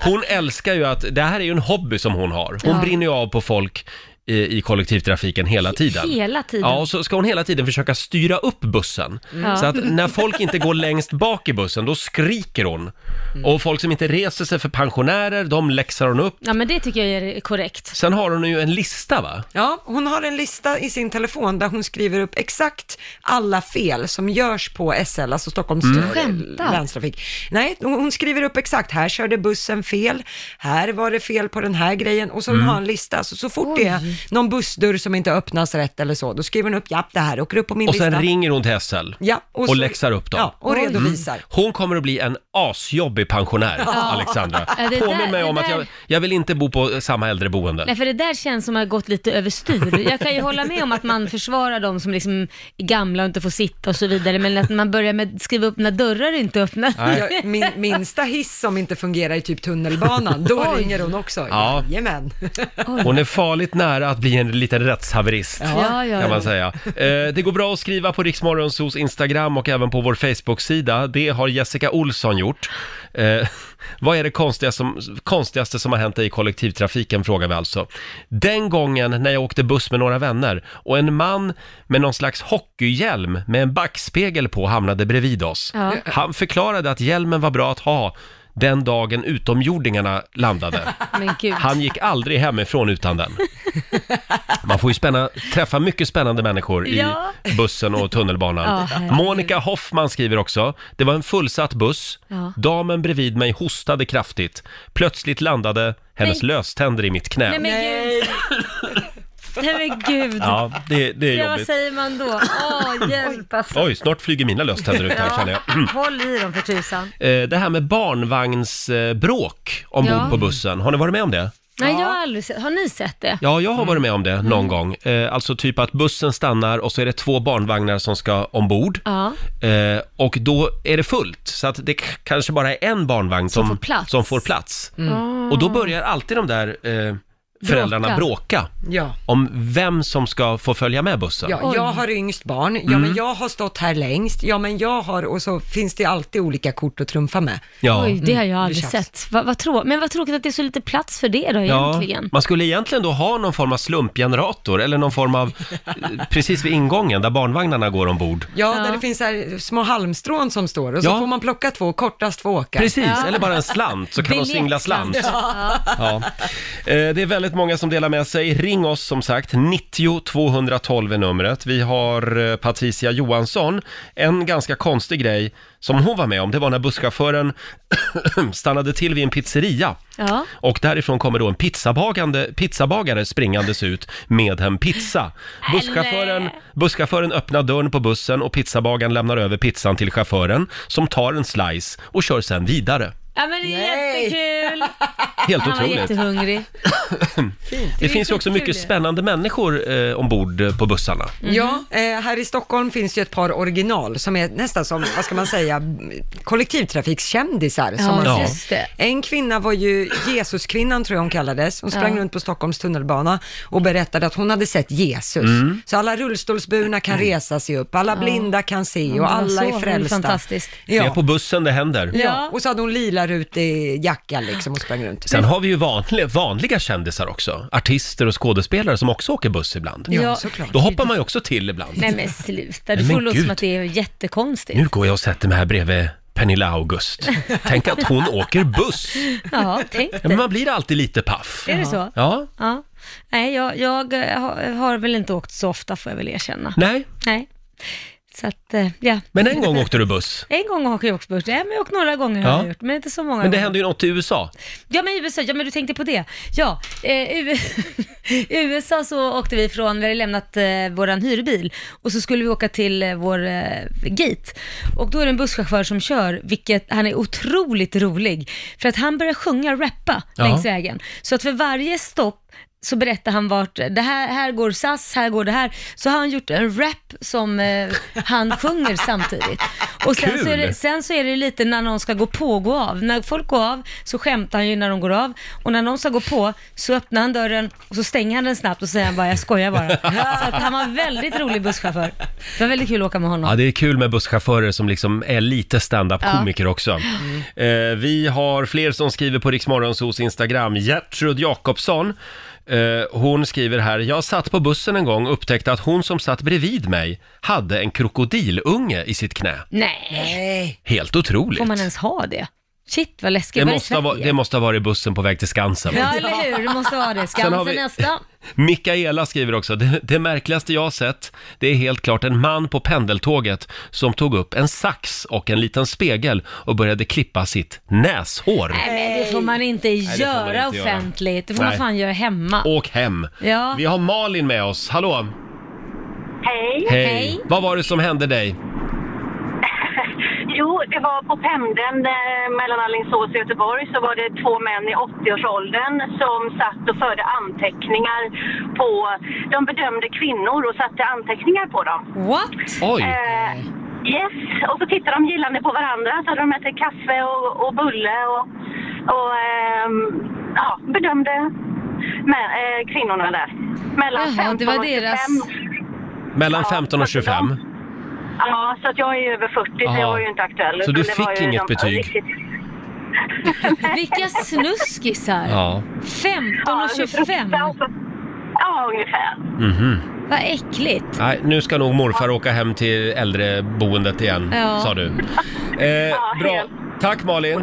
Speaker 1: hon älskar ju att, det här är ju en hobby som hon har. Hon
Speaker 3: Ja.
Speaker 1: brinner ju av på folk i, i kollektivtrafiken hela tiden.
Speaker 3: Hela tiden.
Speaker 1: Ja, och så ska hon hela tiden försöka styra upp bussen.
Speaker 3: Mm. (laughs)
Speaker 1: Så att när folk inte går längst bak i bussen, då skriker hon.
Speaker 3: Mm.
Speaker 1: Och folk som inte reser sig för pensionärer, de läxar hon upp.
Speaker 3: Ja, men det tycker jag är korrekt.
Speaker 1: Sen har hon ju en lista va?
Speaker 2: Ja, hon har en lista i sin telefon där hon skriver upp exakt alla fel som görs på SL, alltså Stockholms mm.
Speaker 3: Skämtar.
Speaker 2: länstrafik. Nej, hon hon skriver upp exakt, här körde bussen fel, här var det fel på den här grejen och så
Speaker 1: Mm.
Speaker 2: hon har en lista. Så, så fort det är någon bussdörr som inte öppnas rätt eller så, då skriver hon upp, ja det här åker upp på min
Speaker 1: Och
Speaker 2: lista.
Speaker 1: sen ringer hon till SL
Speaker 2: ja,
Speaker 1: och,
Speaker 2: så-
Speaker 1: läxar upp dem.
Speaker 2: Ja, och
Speaker 3: Oj.
Speaker 2: redovisar.
Speaker 1: Hon kommer att bli en asjobbig pensionär, Alexandra.
Speaker 3: Ja, det där-
Speaker 1: Påminn mig
Speaker 3: det
Speaker 1: om att jag,
Speaker 3: där-
Speaker 1: jag vill inte bo på samma äldreboende.
Speaker 3: Nej, för det där känns som att ha gått lite överstyr.
Speaker 1: (laughs)
Speaker 3: Jag kan ju hålla med om att man försvarar de som liksom är gamla och inte får sitta och så vidare, men att man börjar med att skriva upp när dörrar inte öppnas.
Speaker 1: (laughs)
Speaker 2: Jag, min, minsta hiss som inte fungerar i typ tunnelbanan, då
Speaker 3: Oj.
Speaker 2: ringer hon också.
Speaker 1: Ja.
Speaker 2: Jajamän.
Speaker 1: Hon är farligt nära att bli en liten rättshaverist.
Speaker 3: Ja, ja,
Speaker 1: kan man
Speaker 3: ja.
Speaker 1: säga. Eh, det går bra att skriva på Riksmorgonsos Instagram och även på vår Facebook-sida. Det har Jessica Olsson gjort. Eh, vad är det konstigaste som, konstigaste som har hänt dig i kollektivtrafiken, frågar vi alltså. Den gången när jag åkte buss med några vänner och en man med någon slags hockeyhjälm med en backspegel på hamnade bredvid oss.
Speaker 3: Ja.
Speaker 1: Han förklarade att hjälmen var bra att ha den dagen utomjordingarna landade.
Speaker 3: Men gud.
Speaker 1: Han gick aldrig hemifrån utan den. Man får ju spänna, träffa mycket spännande människor i
Speaker 3: Ja.
Speaker 1: bussen och tunnelbanan.
Speaker 3: Ja, herregud.
Speaker 1: Monica Hoffman skriver också, det var en fullsatt buss.
Speaker 3: Ja.
Speaker 1: Damen bredvid mig hostade kraftigt. Plötsligt landade hennes
Speaker 3: Nej.
Speaker 1: löständer i mitt knä.
Speaker 3: Nej, men gud. Nej, men gud.
Speaker 1: Ja, det, det är
Speaker 3: Ja, vad
Speaker 1: jobbigt.
Speaker 3: säger man då? Åh, hjälp alltså.
Speaker 1: Oj, snart flyger mina löständer ut här känner jag.
Speaker 3: Håll i dem för tusan.
Speaker 1: Eh, Det här med barnvagnsbråk ombord
Speaker 3: Ja.
Speaker 1: på bussen, har ni varit med om det?
Speaker 3: Nej, jag har aldrig sett. Har ni sett det?
Speaker 1: Ja, jag
Speaker 3: Mm.
Speaker 1: har varit med om det någon gång. Eh, alltså typ att bussen stannar och så är det två barnvagnar som ska ombord.
Speaker 3: Ja.
Speaker 1: Eh, och då är det fullt, så att det k- kanske bara är en barnvagn som,
Speaker 3: får plats. Mm.
Speaker 1: som får plats. Och då börjar alltid de där eh, föräldrarna
Speaker 3: Bråka.
Speaker 1: bråka
Speaker 2: Ja.
Speaker 1: om vem som ska få följa med bussen.
Speaker 2: Ja,
Speaker 3: Oj. Mm.
Speaker 2: jag har yngst barn, ja men jag har stått här längst, ja men jag har, och så finns det alltid olika kort att trumfa med.
Speaker 1: Ja. Mm.
Speaker 3: Oj, det har jag
Speaker 2: det känns.
Speaker 3: aldrig sett. Va, vad trå- men vad tråkigt att det är så lite plats för det då
Speaker 1: Ja,
Speaker 3: egentligen.
Speaker 1: man skulle egentligen då ha någon form av slumpgenerator eller någon form av, eh, precis vid ingången där barnvagnarna går ombord.
Speaker 2: Ja,
Speaker 3: Ja.
Speaker 2: där det finns så här små halmstrån som står och så
Speaker 1: Ja.
Speaker 2: får man plocka två, kortast får åka.
Speaker 1: Precis, eller bara en slant så kan man singla slant. Ja. Eh, Det är väldigt många som delar med sig. Ring oss som sagt, 90 212 är numret. Vi har eh, Patricia Johansson. En ganska konstig grej som hon var med om, det var när busschauffören (coughs) stannade till vid en pizzeria.
Speaker 3: Ja.
Speaker 1: Och därifrån kommer då en pizzabagande, pizzabagare springandes ut med en pizza. Busschauffören, busschauffören öppnar dörren på bussen och pizzabagaren lämnar över pizzan till chauffören som tar en slice och kör sen vidare.
Speaker 3: ja, men det är
Speaker 2: Nej.
Speaker 3: jättekul.
Speaker 1: Helt
Speaker 3: Han var
Speaker 1: otroligt.
Speaker 3: jättehungrig.
Speaker 1: Det finns ju också
Speaker 3: skitkul
Speaker 1: mycket
Speaker 3: ju.
Speaker 1: spännande människor eh, ombord eh, på bussarna.
Speaker 3: Mm-hmm.
Speaker 2: Ja, eh, här i Stockholm finns ju ett par original som är nästan som, vad ska man säga, kollektivtrafikskändisar. som man
Speaker 1: Ja.
Speaker 2: säger.
Speaker 3: just det.
Speaker 2: En kvinna var ju Jesuskvinnan tror jag hon kallades. Hon sprang
Speaker 3: Ja.
Speaker 2: runt på Stockholms tunnelbana och berättade att hon hade sett Jesus.
Speaker 1: Mm.
Speaker 2: Så alla rullstolsburna kan resa sig upp, alla blinda kan se och
Speaker 3: var
Speaker 2: alla
Speaker 3: Mm, så. Det
Speaker 2: är
Speaker 3: är
Speaker 2: frälsta.
Speaker 3: fantastiskt.
Speaker 1: Det är på
Speaker 2: Ja.
Speaker 1: bussen det händer.
Speaker 2: ja, och så hade hon lilar ut i jacka liksom och sprang runt.
Speaker 1: Sen har vi ju vanliga, vanliga kändisar också. Artister och skådespelare som också åker buss ibland.
Speaker 2: Ja,
Speaker 3: Ja.
Speaker 2: såklart.
Speaker 1: Då hoppar man ju också till ibland.
Speaker 3: Nej men sluta,
Speaker 1: Nej,
Speaker 3: du får
Speaker 1: men
Speaker 3: låta som
Speaker 1: gud.
Speaker 3: att det är jättekonstigt.
Speaker 1: Nu går jag och sätter mig här bredvid Pernilla August. Tänk att
Speaker 3: (laughs)
Speaker 1: hon åker buss!
Speaker 3: Ja, tänk
Speaker 1: Ja, men
Speaker 3: dig.
Speaker 1: man blir alltid lite paff.
Speaker 3: Är det så?
Speaker 1: Ja,
Speaker 3: Ja. Nej, jag, jag eh, har- har väl inte åkt så ofta får jag väl erkänna.
Speaker 1: nej.
Speaker 3: Nej. Så att, eh, ja.
Speaker 1: Men en
Speaker 3: (laughs)
Speaker 1: gång åkte du buss.
Speaker 3: En gång har jag åkt buss, nej men jag har åkt några gånger
Speaker 1: Ja.
Speaker 3: har jag gjort, men inte så många
Speaker 1: Men det
Speaker 3: gånger.
Speaker 1: hände ju något i USA.
Speaker 3: Ja men USA, ja men du tänkte på det. Ja, eh, U- (laughs) USA så åkte vi från, vi hade lämnat eh, våran hyrbil och så skulle vi åka till eh, vår eh, gate. Och då är det en busschaufför som kör, vilket, han är otroligt rolig. För att han börjar sjunga, rappa
Speaker 1: Ja.
Speaker 3: längs vägen. Så att för varje stopp så berättar han vart, eh, det här, här går SAS, här går det här. Så har han gjort en rap som eh, han sjunger samtidigt. Och sen så, är
Speaker 1: Kul!
Speaker 3: det, sen så är det lite när någon ska gå på och gå av. När folk går av så skämtar han ju när de går av och när någon ska gå på så öppnar han dörren och så stänger han den snabbt och säger han bara jag skojar bara. Så att han var en väldigt rolig busschaufför. Det var väldigt kul att åka med honom.
Speaker 1: Ja, det är kul med busschaufförer som liksom är lite standup-komiker också.
Speaker 3: Mm.
Speaker 1: Eh, vi har fler som skriver på Riksmorgonsos Instagram. Gertrud Jakobsson, eh, hon skriver här, jag satt på bussen en gång och upptäckte att hon som satt bredvid mig hade en krokodilunge i sitt knä.
Speaker 3: Nej,
Speaker 2: Nej.
Speaker 1: Helt otroligt.
Speaker 3: får man ens ha det? Shit vad läskigt.
Speaker 1: Det
Speaker 3: Var
Speaker 1: måste, ha, va-
Speaker 3: Sverige?
Speaker 1: det måste ha varit bussen på väg till Skansen.
Speaker 3: Ja eller hur, det måste vara det.
Speaker 1: Sen har
Speaker 3: Skansen
Speaker 1: vi-
Speaker 3: nästa.
Speaker 1: Mikaela skriver också, det, det märkligaste jag har sett, det är helt klart en man på pendeltåget som tog upp en sax och en liten spegel och började klippa sitt näshår.
Speaker 3: Nej men det får man inte
Speaker 1: man
Speaker 3: göra
Speaker 1: inte göra.
Speaker 3: offentligt. Det får
Speaker 1: Nej.
Speaker 3: man fan göra hemma.
Speaker 1: Åk hem.
Speaker 3: Ja.
Speaker 1: Vi har Malin med oss, hallå!
Speaker 9: Hej.
Speaker 1: Hej.
Speaker 3: Hej.
Speaker 1: Vad var det som hände dig?
Speaker 9: Jo, det var på pendeln eh, mellan Alingsås och Göteborg så var det två män i 80-årsåldern som satt och förde anteckningar på... De bedömde kvinnor och satte anteckningar på dem.
Speaker 3: What?
Speaker 1: Oj!
Speaker 9: Eh,
Speaker 10: Äh.
Speaker 9: yes, och så tittade de gillande på varandra så hade de ätit kaffe och, och bulle och, och ehm, ja, bedömde med, eh, kvinnorna där. Mellan
Speaker 3: Jaha,
Speaker 9: 15
Speaker 3: det var
Speaker 9: och 25.
Speaker 3: deras-
Speaker 1: Mellan
Speaker 9: ja,
Speaker 1: 15 och 25.
Speaker 9: Ja, så att jag är ju över 40 så
Speaker 1: Aha.
Speaker 9: jag var ju inte aktuell.
Speaker 1: Så
Speaker 9: utan
Speaker 1: du
Speaker 9: det var
Speaker 1: fick
Speaker 9: ju
Speaker 1: inget
Speaker 9: de-
Speaker 1: betyg?
Speaker 9: riktigt-
Speaker 3: Vilka snuskisar.
Speaker 1: Ja.
Speaker 3: 15 och 25.
Speaker 9: Ja, ungefär.
Speaker 1: Mhm.
Speaker 3: Vad äckligt.
Speaker 1: Nej, nu ska nog morfar åka hem till äldreboendet igen,
Speaker 3: Ja.
Speaker 1: sa du. Eh, bra.
Speaker 9: helt.
Speaker 1: Tack Malin!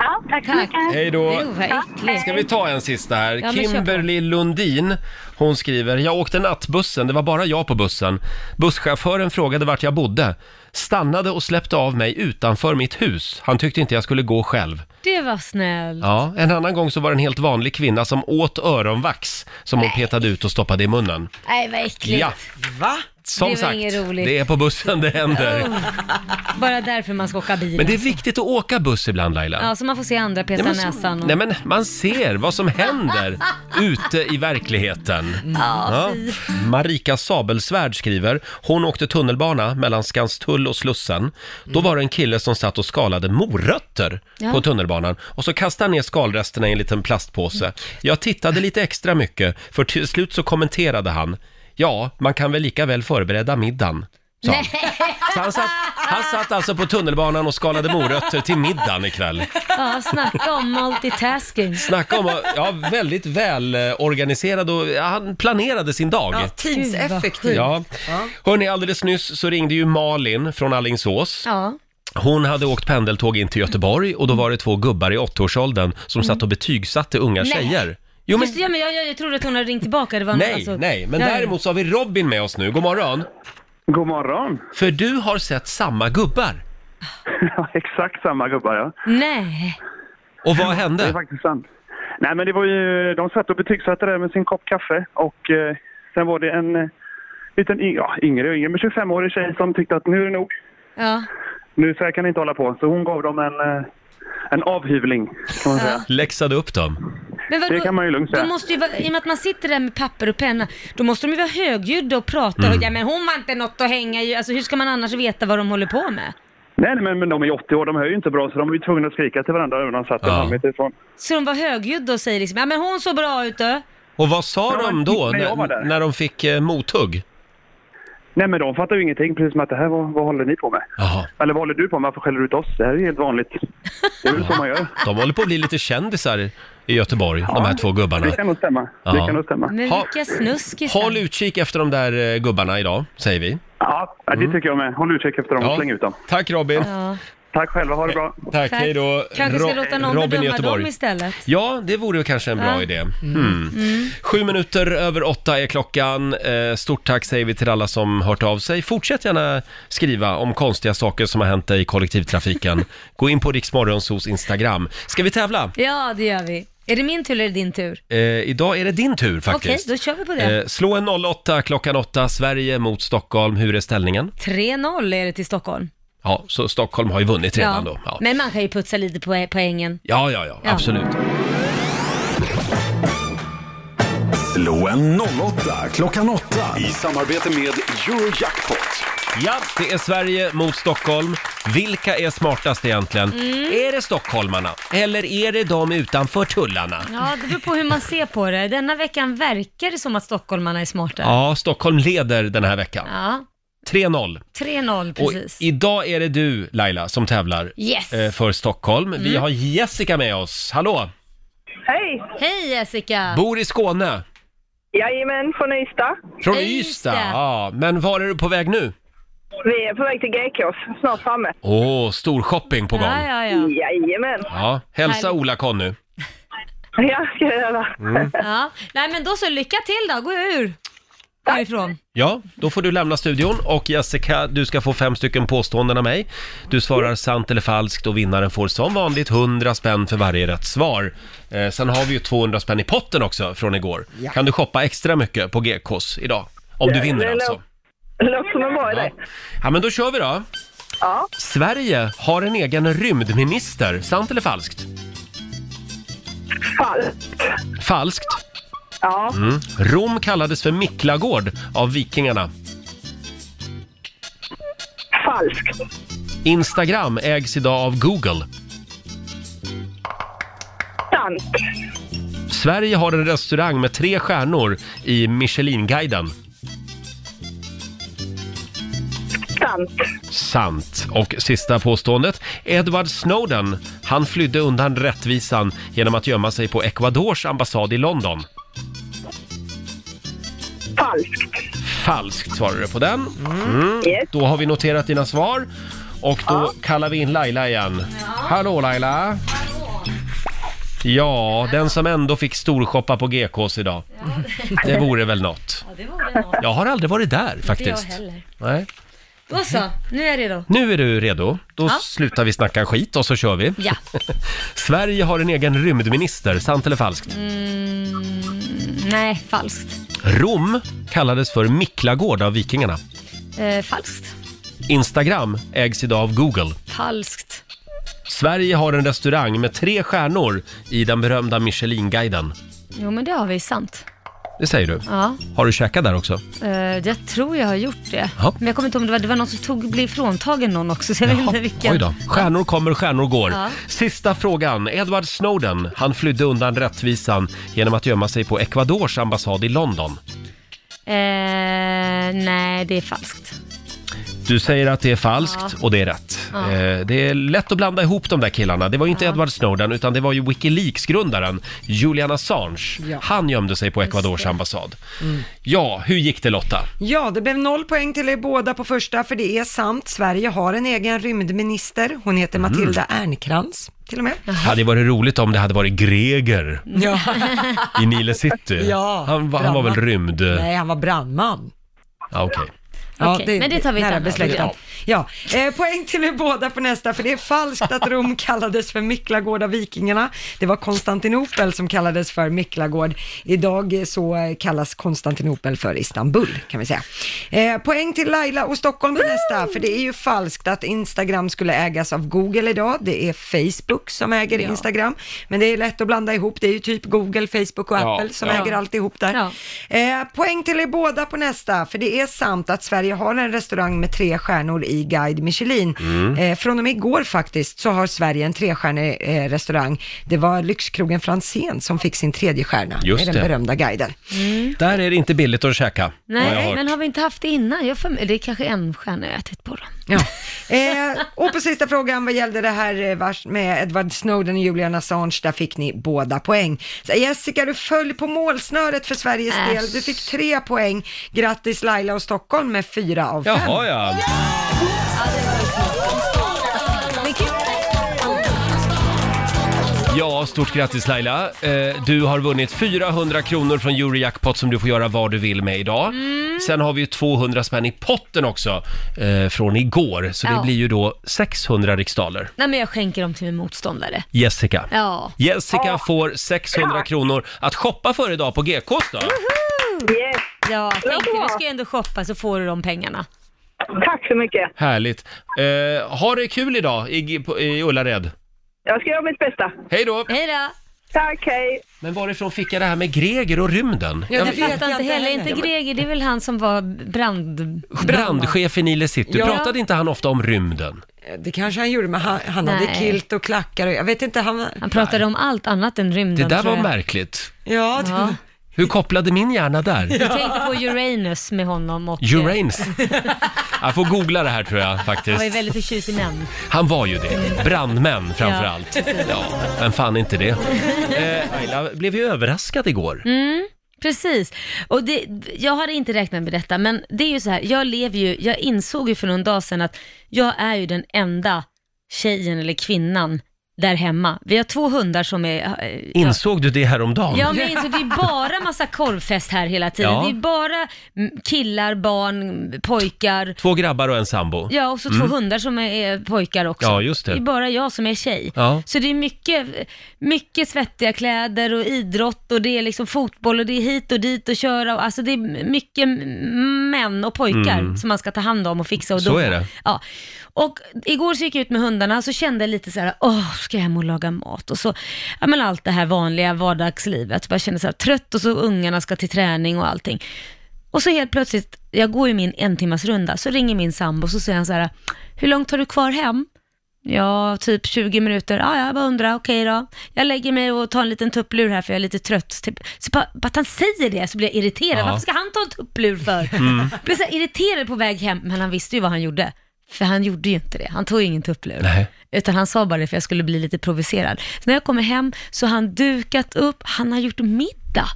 Speaker 9: Ja, tack så
Speaker 3: Tack.
Speaker 9: mycket.
Speaker 1: Hej då!
Speaker 3: Jo, vad äckligt.
Speaker 1: Ska vi ta en sista här?
Speaker 3: Ja, men kör på.
Speaker 1: Kimberly Lundin, hon skriver, jag åkte nattbussen, det var bara jag på bussen. Busschauffören frågade vart jag bodde, stannade och släppte av mig utanför mitt hus. Han tyckte inte jag skulle gå själv.
Speaker 3: Det var snällt.
Speaker 1: Ja, en annan gång så var det en helt vanlig kvinna som åt öronvax som hon petade ut och stoppade i munnen.
Speaker 3: Nej, vad äckligt.
Speaker 1: Ja,
Speaker 2: Va?
Speaker 1: som
Speaker 3: Det var
Speaker 1: sagt,
Speaker 3: inget roligt. Oh.
Speaker 1: det är på bussen det händer.
Speaker 3: Bara därför man ska åka bil.
Speaker 1: Men det är viktigt att åka buss ibland Laila.
Speaker 3: Ja, så man får se andra peta
Speaker 1: så-
Speaker 3: näsan. Och...
Speaker 1: Nej men man ser vad som händer ute i verkligheten. Tunnelbanan.
Speaker 3: Mm.
Speaker 1: Ja. Marika Sabelsvärd skriver, hon åkte tunnelbana mellan Skanstull och Slussen. Då var det en kille som satt och skalade morötter
Speaker 3: Mm. Ja.
Speaker 1: på tunnelbanan och så kastade han ner skalresterna i en liten
Speaker 3: Mm.
Speaker 1: plastpåse. Jag tittade lite extra mycket, för till slut så kommenterade han, ja, man kan väl lika väl förbereda middagen. sa han. Så han, satt, han satt alltså på tunnelbanan och skalade morötter till middagen ikväll.
Speaker 3: Ja, snacka om multitasking.
Speaker 1: Snacka om att- ja, väldigt väl eh, organiserad och ja, han planerade sin dag.
Speaker 2: Ja, tidseffektiv.
Speaker 1: Ja.
Speaker 2: Ja.
Speaker 1: Hörni, alldeles nyss så ringde ju Malin från Allingsås.
Speaker 3: Ja.
Speaker 1: Hon hade åkt pendeltåg in till Göteborg och då var det två gubbar i 80-årsåldern som satt och betygsatte unga
Speaker 3: Mm. Nej.
Speaker 1: tjejer. Jo, men,
Speaker 3: Just, det, ja, men jag, jag, jag trodde att hon hade ringt tillbaka. Det var
Speaker 1: nej,
Speaker 3: alltså,
Speaker 1: nej, men
Speaker 3: Ja, ja.
Speaker 1: däremot så har vi Robin med oss nu. God morgon!
Speaker 11: God morgon!
Speaker 1: För du har sett samma gubbar.
Speaker 11: Ja, Exakt samma gubbar, ja.
Speaker 3: Nej.
Speaker 1: Och vad hände?
Speaker 11: Det är faktiskt sant. Nej, men det var ju... De satt och betygsatte där med sin kopp kaffe och eh, sen var det en eh, liten, y- ja, yngre och yngre, men 25-årig tjej som tyckte att nu är det nog.
Speaker 3: Ja.
Speaker 11: Nu så här kan det inte hålla på. Så hon gav dem en, eh, en avhyvling, kan man säga.
Speaker 1: Läxade upp dem.
Speaker 3: Men vadå,
Speaker 11: Det kan man ju lugnt säga.
Speaker 3: de måste ju vara, I och med att man sitter där med papper och penna, då måste de ju vara högljudda och prata.
Speaker 11: Mm.
Speaker 3: Ja, men hon var inte något att hänga i. Alltså, hur ska man annars veta vad de håller på med?
Speaker 11: Nej, nej, men, men de är ju 80 år, de hör ju inte bra så de var ju tvungna att skrika till varandra även om de satt en
Speaker 1: Ja.
Speaker 11: halvmeter ifrån.
Speaker 3: Så de var högljudda och säger liksom, ja men hon såg bra ut då.
Speaker 1: Och vad sa
Speaker 11: Ja,
Speaker 1: de då
Speaker 11: när jag var
Speaker 1: när,
Speaker 11: där.
Speaker 1: när de fick eh, mothugg?
Speaker 11: Nej, men de fattar ju ingenting, precis som att det här, vad, vad håller ni på med?
Speaker 1: Jaha.
Speaker 11: Eller vad håller du på med? Varför skäller du ut oss? Det här är ju helt vanligt. Det är väl så man gör.
Speaker 1: De håller på att bli lite kändisar i Göteborg, de här två gubbarna.
Speaker 11: Det kan nog stämma. Det
Speaker 1: Ja.
Speaker 11: kan nog stämma.
Speaker 3: Men
Speaker 1: Ha-
Speaker 3: vilka snuskisar.
Speaker 1: Håll utkik efter de där eh, gubbarna idag, säger vi.
Speaker 11: Ja, det tycker jag med. Håll utkik efter dem
Speaker 1: Mm. Ja.
Speaker 11: och släng ut dem.
Speaker 1: Tack Robin.
Speaker 3: Ja,
Speaker 11: Tack själva, ha det bra.
Speaker 1: Tack,
Speaker 3: tack.
Speaker 1: hej då.
Speaker 3: Kanske ska
Speaker 1: Ro-
Speaker 3: låta någon
Speaker 1: Robin i
Speaker 3: bedöma
Speaker 1: Göteborg.
Speaker 3: dem istället.
Speaker 1: Ja, det vore ju kanske en bra
Speaker 3: Ja. Mm.
Speaker 1: idé. Hmm. Sju minuter över åtta är klockan. Eh, Stort tack säger vi till alla som hört av sig. Fortsätt gärna skriva om konstiga saker som har hänt dig i
Speaker 3: (laughs)
Speaker 1: kollektivtrafiken. Gå in på Riksmorgonsos Instagram. Ska vi tävla?
Speaker 3: Ja, det gör vi. Är det min tur eller är det din tur?
Speaker 1: Eh, idag är det din tur
Speaker 3: Okej,
Speaker 1: faktiskt.
Speaker 3: då kör vi på det.
Speaker 1: Eh, slå en 08 klockan 8, Sverige mot Stockholm. Hur är ställningen?
Speaker 3: 3-0 är det till Stockholm.
Speaker 1: Ja, så Stockholm har ju vunnit redan
Speaker 3: ja.
Speaker 1: då. Ja.
Speaker 3: Men man kan ju putsa lite på poängen.
Speaker 1: Ja, ja, ja,
Speaker 3: Ja.
Speaker 1: absolut.
Speaker 4: Slå en 08 klockan 8 i samarbete med Eurojackpot.
Speaker 1: Ja, det är Sverige mot Stockholm. Vilka är smartast egentligen?
Speaker 3: Mm.
Speaker 1: Är det stockholmarna eller är det de utanför tullarna?
Speaker 3: Ja, det beror på hur man ser på det. Denna veckan verkar det som att stockholmarna är smarta.
Speaker 1: Ja, Stockholm leder den här veckan.
Speaker 3: Ja,
Speaker 1: 3-0.
Speaker 3: 3-0
Speaker 1: Och
Speaker 3: precis.
Speaker 1: idag är det du, Laila, som tävlar
Speaker 3: Yes.
Speaker 1: eh, för Stockholm. Vi
Speaker 3: Mm.
Speaker 1: har Jessica med oss. Hallå!
Speaker 6: Hej!
Speaker 3: Hej Jessica!
Speaker 1: Bor i Skåne,
Speaker 6: Jajamän, från Ystad.
Speaker 1: från
Speaker 3: Hej,
Speaker 1: Ystad.
Speaker 3: Ystad.
Speaker 1: Ja, men var är du på väg nu?
Speaker 6: Vi är på väg till Gekås, snart framme.
Speaker 1: Åh, stor shopping på gång.
Speaker 3: ja,
Speaker 1: Ja,
Speaker 3: ja, ja.
Speaker 6: Jajamän.
Speaker 1: hälsa
Speaker 3: Härligt.
Speaker 1: Ola-Conny.
Speaker 6: Ja, ska jag göra.
Speaker 3: ja. Nej men då så, lycka till då. Gå ur härifrån.
Speaker 1: Ja, då får du lämna studion och Jessica, du ska få fem stycken påståenden av mig. Du svarar sant eller falskt och vinnaren får som vanligt 100 spänn för varje rätt svar. Eh, sen har vi ju 200 spänn i potten också från igår. Kan du shoppa extra mycket på GKs idag? Om du vinner
Speaker 6: det
Speaker 1: alltså.
Speaker 6: låter- Det låter som en bra
Speaker 1: Ja.
Speaker 6: idé.
Speaker 1: ja, men då kör vi då.
Speaker 6: Ja.
Speaker 1: Sverige har en egen rymdminister, sant eller falskt?
Speaker 6: Fall.
Speaker 1: Falskt.
Speaker 6: Ja.
Speaker 1: Mm. Rom kallades för Miklagård av vikingarna.
Speaker 6: Falskt.
Speaker 1: Instagram ägs idag av Google.
Speaker 6: Sant.
Speaker 1: Sverige har en restaurang med tre stjärnor i Michelinguiden.
Speaker 6: Sant.
Speaker 1: Sant. Och sista påståendet. Edward Snowden, han flydde undan rättvisan genom att gömma sig på Ecuadors ambassad i London.
Speaker 6: Falskt.
Speaker 1: Falskt svarade du på den. Mm.
Speaker 6: Yes.
Speaker 1: Då har vi noterat dina svar. Och då kallar vi in Laila igen. Hallå Laila! Ja, den som ändå fick storshoppa på GKs idag. Det vore väl något.
Speaker 3: Ja, det vore något.
Speaker 1: Jag har aldrig varit där
Speaker 3: Inte jag
Speaker 1: faktiskt.
Speaker 3: heller.
Speaker 1: Nej.
Speaker 3: Då så, nu är det då.
Speaker 1: Nu är du redo. Då
Speaker 3: Ja.
Speaker 1: slutar vi snacka skit och så kör vi.
Speaker 3: Ja.
Speaker 1: (laughs) Sverige har en egen rymdminister, sant eller falskt?
Speaker 3: Mm, nej, falskt.
Speaker 1: Rom kallades för Miklagård av vikingarna.
Speaker 3: Eh, falskt.
Speaker 1: Instagram ägs idag av Google.
Speaker 3: Falskt.
Speaker 1: Sverige har en restaurang med tre stjärnor i den berömda Michelinguiden.
Speaker 3: Jo men det har vi, sant.
Speaker 1: Det säger du.
Speaker 3: Ja.
Speaker 1: Har du käkat där också?
Speaker 3: Eh, jag tror jag har gjort det.
Speaker 1: Ja.
Speaker 3: Men jag kommer inte ihåg om det var, det var någon som tog, blev fråntagen någon också, så jag vet inte vilken.
Speaker 1: Oj då. Stjärnor kommer, stjärnor går.
Speaker 3: Ja.
Speaker 1: Sista frågan. Edward Snowden, han flydde undan rättvisan genom att gömma sig på Ecuadors ambassad i London.
Speaker 3: Eh, nej, det är falskt.
Speaker 1: Du säger att det är falskt
Speaker 3: Ja.
Speaker 1: och det är rätt.
Speaker 3: Ja.
Speaker 1: Eh, det är lätt att blanda ihop de där killarna. Det var ju inte Edward Snowden utan det var ju Wikileaks-grundaren Julian Assange. Han gömde sig på Ecuadors ambassad.
Speaker 3: Mm.
Speaker 1: Ja, hur gick det Lotta?
Speaker 2: Ja, det blev noll poäng till er båda på första, för det är sant. Sverige har en egen rymdminister. Hon heter
Speaker 1: Mm.
Speaker 2: Matilda Ernkrans, till och med.
Speaker 1: Hade varit roligt om det hade varit Greger
Speaker 2: (laughs) Ja.
Speaker 1: i Nile
Speaker 3: (laughs)
Speaker 1: City.
Speaker 2: Ja,
Speaker 1: han, var- han var väl rymd?
Speaker 2: Nej, han var brandman.
Speaker 1: Ja, okej.
Speaker 3: Okej, men det tar vi ett
Speaker 2: nära
Speaker 3: annat
Speaker 2: besläktat.
Speaker 3: program.
Speaker 2: Ja. Eh, poäng till er båda på nästa, för det är falskt att
Speaker 3: (laughs)
Speaker 2: Rom kallades för Miklagård av vikingarna. Det var Konstantinopel som kallades för Miklagård. Idag eh, så eh, kallas Konstantinopel för Istanbul, kan vi säga. Eh, poäng till Laila och Stockholm på nästa, för det är ju falskt att Instagram skulle ägas av Google idag. Det är Facebook som äger
Speaker 3: Ja.
Speaker 2: Instagram, men det är lätt att blanda ihop. Det är ju typ Google, Facebook och
Speaker 1: Ja,
Speaker 2: Apple som
Speaker 1: ja.
Speaker 2: äger alltihop där. Eh, poäng till er båda på nästa, för det är sant att Sverige har en restaurang med tre stjärnor i Guide Michelin.
Speaker 12: Mm.
Speaker 2: Eh, från och med igår faktiskt så har Sverige en trestjärnig eh, restaurang. Det var lyxkrogen Franzén som fick sin tredje stjärna
Speaker 1: Just
Speaker 2: med
Speaker 1: det.
Speaker 2: den berömda guiden.
Speaker 1: Där är det inte billigt att käka. har jag
Speaker 3: Nej,
Speaker 1: hört.
Speaker 3: men har vi inte haft det innan? Jag för, mig- det är kanske en stjärna jag har ätit på då.
Speaker 2: (laughs) Eh, och på sista frågan vad gällde det här eh, vars- med Edward Snowden och Julian Assange, där fick ni båda poäng. Så Jessica, du föll på målsnöret för Sveriges
Speaker 1: Äsch.
Speaker 2: del. Du fick tre poäng. Grattis Laila och Stockholm med fyra av fem.
Speaker 1: Jaha, ja. Ja, stort grattis Laila. Eh, Du har vunnit 400 kronor från Eurojackpot som du får göra vad du vill med idag.
Speaker 3: Mm.
Speaker 1: Sen har vi ju 200 spänn i potten också eh, från igår, så det
Speaker 3: Ja.
Speaker 1: blir ju då 600 riksdaler.
Speaker 3: Nej, men jag skänker dem till min motståndare.
Speaker 1: Jessica.
Speaker 3: Ja.
Speaker 1: Jessica får 600 kronor att shoppa för idag på GKs då.
Speaker 3: Yes. Ja, jag tänkte du ska ju ändå shoppa så får du de pengarna.
Speaker 6: Tack så mycket.
Speaker 1: Härligt. Eh, ha det kul idag i, på- i Ullared.
Speaker 6: Jag ska göra mitt bästa.
Speaker 1: Hej då!
Speaker 3: Hej då!
Speaker 6: Tack, hej!
Speaker 1: Men varifrån fick jag det här med Greger och rymden?
Speaker 3: Ja, det
Speaker 1: Jag-
Speaker 3: fattar inte heller. Inte
Speaker 1: heller.
Speaker 3: Greger, det är väl han som var brand...
Speaker 1: Brandchef i Nile City,
Speaker 2: Ja.
Speaker 1: pratade inte han ofta om rymden?
Speaker 2: Det kanske han gjorde, men han, han hade
Speaker 3: Nej.
Speaker 2: kilt och klackar och jag vet inte, han...
Speaker 3: Han pratade om allt annat än
Speaker 1: Det
Speaker 3: rymden
Speaker 1: där
Speaker 3: tror
Speaker 1: var
Speaker 3: jag.
Speaker 1: märkligt.
Speaker 2: Ja, det...
Speaker 3: Ja.
Speaker 1: Hur kopplade min hjärna där?
Speaker 3: Jag tänkte på Uranus med honom och... eh, (laughs)
Speaker 1: Uranus. Jag får googla det här tror jag
Speaker 3: Han var ju
Speaker 1: faktiskt.
Speaker 3: väldigt förtjust i män.
Speaker 1: Han var ju det. Brandmän framför
Speaker 3: Ja.
Speaker 1: allt. Ja, vem fan är inte
Speaker 3: (laughs)
Speaker 1: det? Eh, Laila blev ju överraskad igår.
Speaker 3: Mm, precis. Och det, jag hade inte räknat med detta, men det är ju så här, jag lever ju, jag insåg ju för någon dag sedan att jag är ju den enda tjejen eller kvinnan där hemma. Vi har två hundar som är... eh,
Speaker 1: Insåg du det häromdagen?
Speaker 3: Ja, men insåg, det är bara massa korvfest här hela tiden.
Speaker 1: Ja.
Speaker 3: Det är bara mm, killar, barn, pojkar.
Speaker 1: Två grabbar och en sambo.
Speaker 3: Ja, och så två
Speaker 1: Mm.
Speaker 3: hundar som är, är pojkar också.
Speaker 1: Ja, just det.
Speaker 3: är bara jag som är tjej.
Speaker 1: Ja.
Speaker 3: Så det är mycket, mycket svettiga kläder och idrott och det är liksom fotboll och det är hit och dit och köra. Och, alltså det är mycket män och pojkar
Speaker 12: Mm.
Speaker 3: som man ska ta hand om och fixa och
Speaker 12: Så
Speaker 3: dona.
Speaker 12: är det.
Speaker 3: liksom, Ja. Och igår så gick jag ut med hundarna så kände jag lite så här, åh, ska jag hem och laga mat? Och så, ja men allt det här vanliga vardagslivet. Bara kände så här trött och så ungarna ska till träning och allting. Och så helt plötsligt, jag går ju min en timmars runda så ringer min sambo och så säger han så här, hur långt har du kvar hem? Ja, typ 20 minuter. Ja, jag bara undrar, okej då. Jag lägger mig och tar en liten tupplur här för jag är lite trött. Typ. Så bara, bara att han säger det så blir jag irriterad.
Speaker 12: Ja.
Speaker 3: Varför ska han ta en tupplur
Speaker 1: (laughs)
Speaker 3: för?
Speaker 12: Mm.
Speaker 3: Blev så här irriterad på väg hem, men han visste ju vad han gjorde. För han gjorde ju inte det. Han tog ju ingen tupplur.
Speaker 12: Nej.
Speaker 3: Utan han sa bara det för jag skulle bli lite provocerad. Så när jag kommer hem så har han dukat upp, han har gjort middag.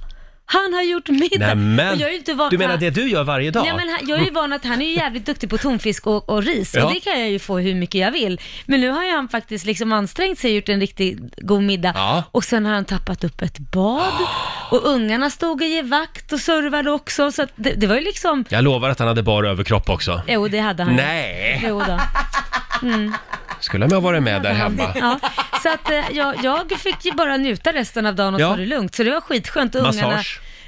Speaker 3: Han har gjort middag.
Speaker 1: Nämen.
Speaker 3: Och (laughs) jag är ju inte van-
Speaker 1: Du menar det du gör varje dag?
Speaker 3: Nej, men han- jag är ju van att han är ju jävligt duktig på tonfisk och, och ris
Speaker 1: Ja.
Speaker 3: och det kan jag ju få hur mycket jag vill. Men nu har ju han faktiskt liksom ansträngt sig och gjort en riktigt god middag
Speaker 12: Ja.
Speaker 3: och sen har han tappat upp ett bad och ungarna stod och gav vakt och servade också så att det, det var ju liksom,
Speaker 1: Jag lovar att han hade bara överkropp också.
Speaker 3: jo det hade han ju.
Speaker 1: Nej.
Speaker 3: Jo då. Mm.
Speaker 1: Skulle han ha varit med där hemma.
Speaker 3: Ja, så att eh, jag, jag fick ju bara njuta resten av dagen och
Speaker 1: Ja.
Speaker 3: ta det lugnt, så det var skitskönt. Och
Speaker 1: Massage?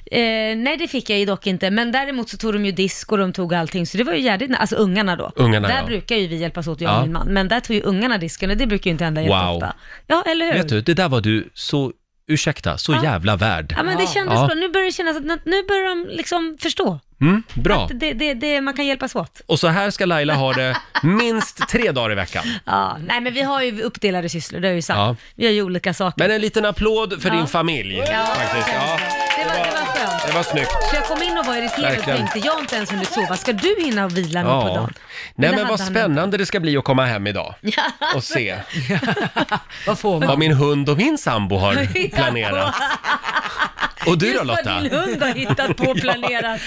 Speaker 3: Ungarna, eh, nej, det fick jag ju dock inte, men däremot så tog de ju disk och de tog allting, så det var ju jävligt, alltså ungarna då.
Speaker 1: Ungarna,
Speaker 3: där
Speaker 1: ja.
Speaker 3: brukar ju vi hjälpas åt, jag
Speaker 1: Ja.
Speaker 3: och min man, men där tog ju ungarna disken och det brukar ju inte hända
Speaker 1: Wow.
Speaker 3: jätteofta. Ja, eller hur?
Speaker 1: Vet du, det där var du så ursäkta, så
Speaker 3: Ja.
Speaker 1: jävla värd.
Speaker 3: Ja, men det kändes
Speaker 1: Ja.
Speaker 3: bra. Nu börjar det kännas att nu- nu börjar de liksom förstå.
Speaker 1: Mm, bra.
Speaker 3: Att det, det, det, man kan hjälpas åt.
Speaker 1: Och så här ska Laila ha det minst tre dagar i veckan.
Speaker 3: Ja, nej men vi har ju uppdelade sysslor, det är ju sant.
Speaker 1: Ja.
Speaker 3: Vi gör ju olika saker.
Speaker 1: Men en liten applåd för
Speaker 3: Ja.
Speaker 1: din familj.
Speaker 3: Ja.
Speaker 1: Faktiskt. Ja,
Speaker 3: Det var, det var skönt.
Speaker 1: det var snyggt.
Speaker 3: Så jag kom in och var irriterad och
Speaker 1: Verkligen.
Speaker 3: tänkte, jag har inte ens hunnit sova. Ska du hinna och vila mig på
Speaker 1: Ja. Nej
Speaker 3: dagen? det
Speaker 1: men
Speaker 3: hade
Speaker 1: vad
Speaker 3: han
Speaker 1: spännande det ska bli att komma hem idag och se
Speaker 2: Vad får
Speaker 1: vad min hund och min sambo har
Speaker 3: Hittat
Speaker 1: planerat. Och du då Lotta?
Speaker 3: Just vad din hund har
Speaker 1: (laughs)
Speaker 3: hittat på och planerat.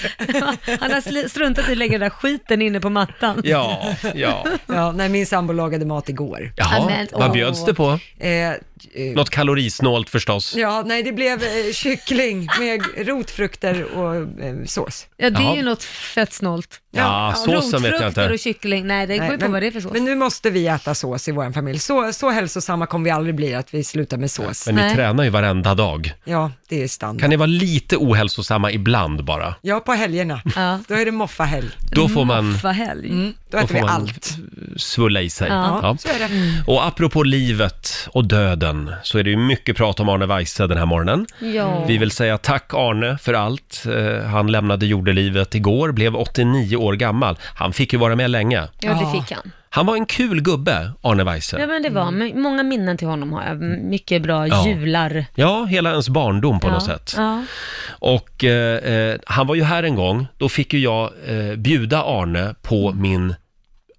Speaker 3: Han har sli- struntat i att lägga den där skiten inne på mattan.
Speaker 1: Ja, ja.
Speaker 2: ja, nej, min sambo lagade mat igår.
Speaker 1: Jaha, vad bjöds det på?
Speaker 2: Eh,
Speaker 1: Något kalorisnålt förstås.
Speaker 2: ja, nej, det blev eh, kyckling med rotfrukter och eh, sås.
Speaker 3: Ja, det är
Speaker 1: Jaha.
Speaker 3: ju något fett snålt.
Speaker 1: Ja, såsen vet jag inte.
Speaker 3: Rotfrukter och kyckling, nej det
Speaker 2: Nej,
Speaker 3: går ju på
Speaker 2: men-
Speaker 3: vad det är för sås.
Speaker 2: Men nu måste vi äta sås i vår familj. Så, så hälsosamma kommer vi aldrig bli att vi slutar med sås.
Speaker 1: Men ni tränar ju varenda dag.
Speaker 2: Ja, det är standard.
Speaker 1: Kan ni vara lite ohälsosamma ibland bara?
Speaker 2: Ja, på helgerna. Då är det moffahelg.
Speaker 1: Då får man,
Speaker 3: helg.
Speaker 2: Mm,
Speaker 1: då
Speaker 2: då äter
Speaker 1: får
Speaker 2: vi
Speaker 1: man
Speaker 2: allt.
Speaker 1: svulla i sig.
Speaker 2: Ja,
Speaker 1: Ja.
Speaker 2: så är det.
Speaker 1: Och apropå livet och döden så är det ju mycket prat om Arne Weise den här morgonen.
Speaker 3: Ja.
Speaker 1: Vi vill säga tack Arne för allt. Eh, Han lämnade jordelivet igår, blev 89 år gammal. Han fick ju vara med länge.
Speaker 3: Ja, det fick han.
Speaker 1: Han var en kul gubbe, Arne Weise.
Speaker 3: Ja, men det var m- många minnen till honom har jag. M- Mycket bra
Speaker 1: Ja.
Speaker 3: jular.
Speaker 1: Ja, hela ens barndom på
Speaker 3: ja.
Speaker 1: något sätt.
Speaker 3: Ja.
Speaker 1: Och eh, eh, han var ju här en gång, då fick ju jag eh, bjuda Arne på min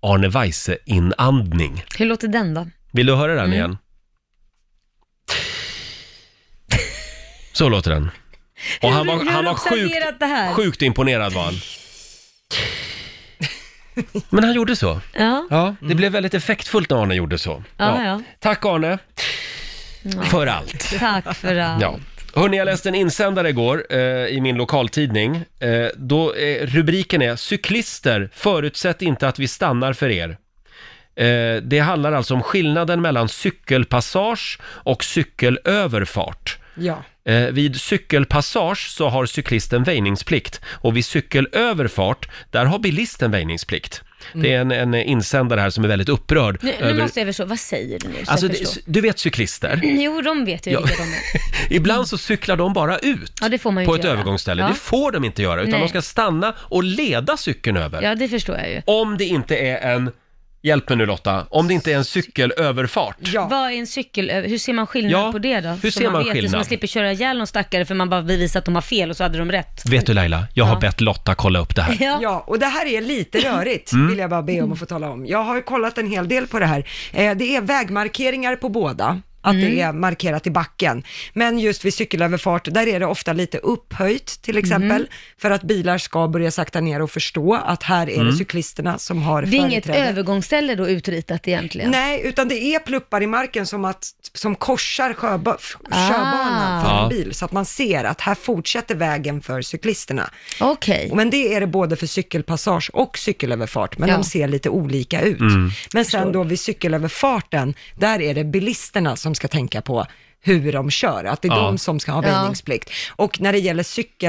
Speaker 1: Arne Weise-inandning.
Speaker 3: Hur låter den då?
Speaker 1: Vill du höra den
Speaker 3: Mm.
Speaker 1: igen? Så låter den. Och han var,
Speaker 3: Hur har
Speaker 1: han
Speaker 3: du
Speaker 1: var sjukt,
Speaker 3: observerat det här?
Speaker 1: sjukt imponerad var
Speaker 3: (laughs)
Speaker 1: han. Men han gjorde så. Mm.
Speaker 3: Ja.
Speaker 1: Ja, det blev väldigt effektfullt när Arne gjorde så.
Speaker 3: Ja, ja.
Speaker 1: Tack Arne,
Speaker 3: Ja.
Speaker 1: för allt.
Speaker 3: Tack för
Speaker 1: (laughs)
Speaker 3: allt.
Speaker 1: Ja. Hörni, jag läste en insändare igår eh, i min lokaltidning. Eh, då, eh, rubriken är “Cyklister, förutsätt inte att vi stannar för er”. Eh, det handlar alltså om skillnaden mellan cykelpassage och cykelöverfart.
Speaker 2: Ja.
Speaker 1: Eh, vid cykelpassage så har cyklisten väjningsplikt och vid cykelöverfart, där har bilisten väjningsplikt. Det är en, en insändare här som är väldigt upprörd.
Speaker 3: Nu, nu måste Mm. jag förstå, vad säger du nu? så
Speaker 1: Alltså,
Speaker 3: jag
Speaker 1: det,
Speaker 3: förstår?
Speaker 1: du vet cyklister?
Speaker 3: Jo, de vet ju
Speaker 1: Ja.
Speaker 3: vilka de är.
Speaker 1: (laughs) Ibland så cyklar de bara ut
Speaker 3: Ja, det får man ju
Speaker 1: på
Speaker 3: inte
Speaker 1: ett
Speaker 3: göra.
Speaker 1: övergångsställe.
Speaker 3: Ja.
Speaker 1: Det får de inte göra, utan
Speaker 3: Nej.
Speaker 1: de ska stanna och leda cykeln över.
Speaker 3: Ja, det förstår jag ju.
Speaker 1: Om det inte är en, hjälp mig nu Lotta, om det inte är en cykelöverfart.
Speaker 3: Vad är en cykel? Hur ser man skillnad
Speaker 1: Ja,
Speaker 3: på det då?
Speaker 1: hur
Speaker 3: Så
Speaker 1: ser man
Speaker 3: vet det,
Speaker 1: skillnad?
Speaker 3: Så man slipper köra ihjäl någon stackare för man bara bevisar att de har fel och så hade de rätt.
Speaker 1: Vet du Laila, jag har
Speaker 3: Ja.
Speaker 1: bett Lotta kolla upp det
Speaker 3: (laughs)
Speaker 1: här.
Speaker 3: Ja.
Speaker 2: Ja, och det här är lite rörigt,
Speaker 1: Mm.
Speaker 2: vill jag bara be om att få tala om. Jag har ju kollat en hel del på det här. Eh, det är vägmarkeringar på båda. Att det
Speaker 3: Mm.
Speaker 2: är markerat i backen. Men just vid cykelöverfart, där är det ofta lite upphöjt till exempel.
Speaker 3: Mm.
Speaker 2: För att bilar ska börja sakta ner och förstå att här är
Speaker 3: Mm.
Speaker 2: det cyklisterna som har
Speaker 3: Det är inget
Speaker 2: företräde.
Speaker 3: övergångsställe då utritat egentligen?
Speaker 2: Nej, utan det är pluppar i marken som, att, som korsar sjöba, f-
Speaker 3: Ah.
Speaker 2: sjöbanan för
Speaker 3: Ja.
Speaker 2: en bil, så att man ser att här fortsätter vägen för cyklisterna.
Speaker 3: Okej.
Speaker 2: Men det är det både för cykelpassage och cykelöverfart, men
Speaker 3: Ja.
Speaker 2: de ser lite olika ut.
Speaker 1: Mm.
Speaker 2: Men sen då vid cykelöverfarten, där är det bilisterna som ska tänka på hur de kör, att det är
Speaker 1: Ja.
Speaker 2: de som ska ha
Speaker 3: Ja.
Speaker 2: väjningsplikt. Och när det gäller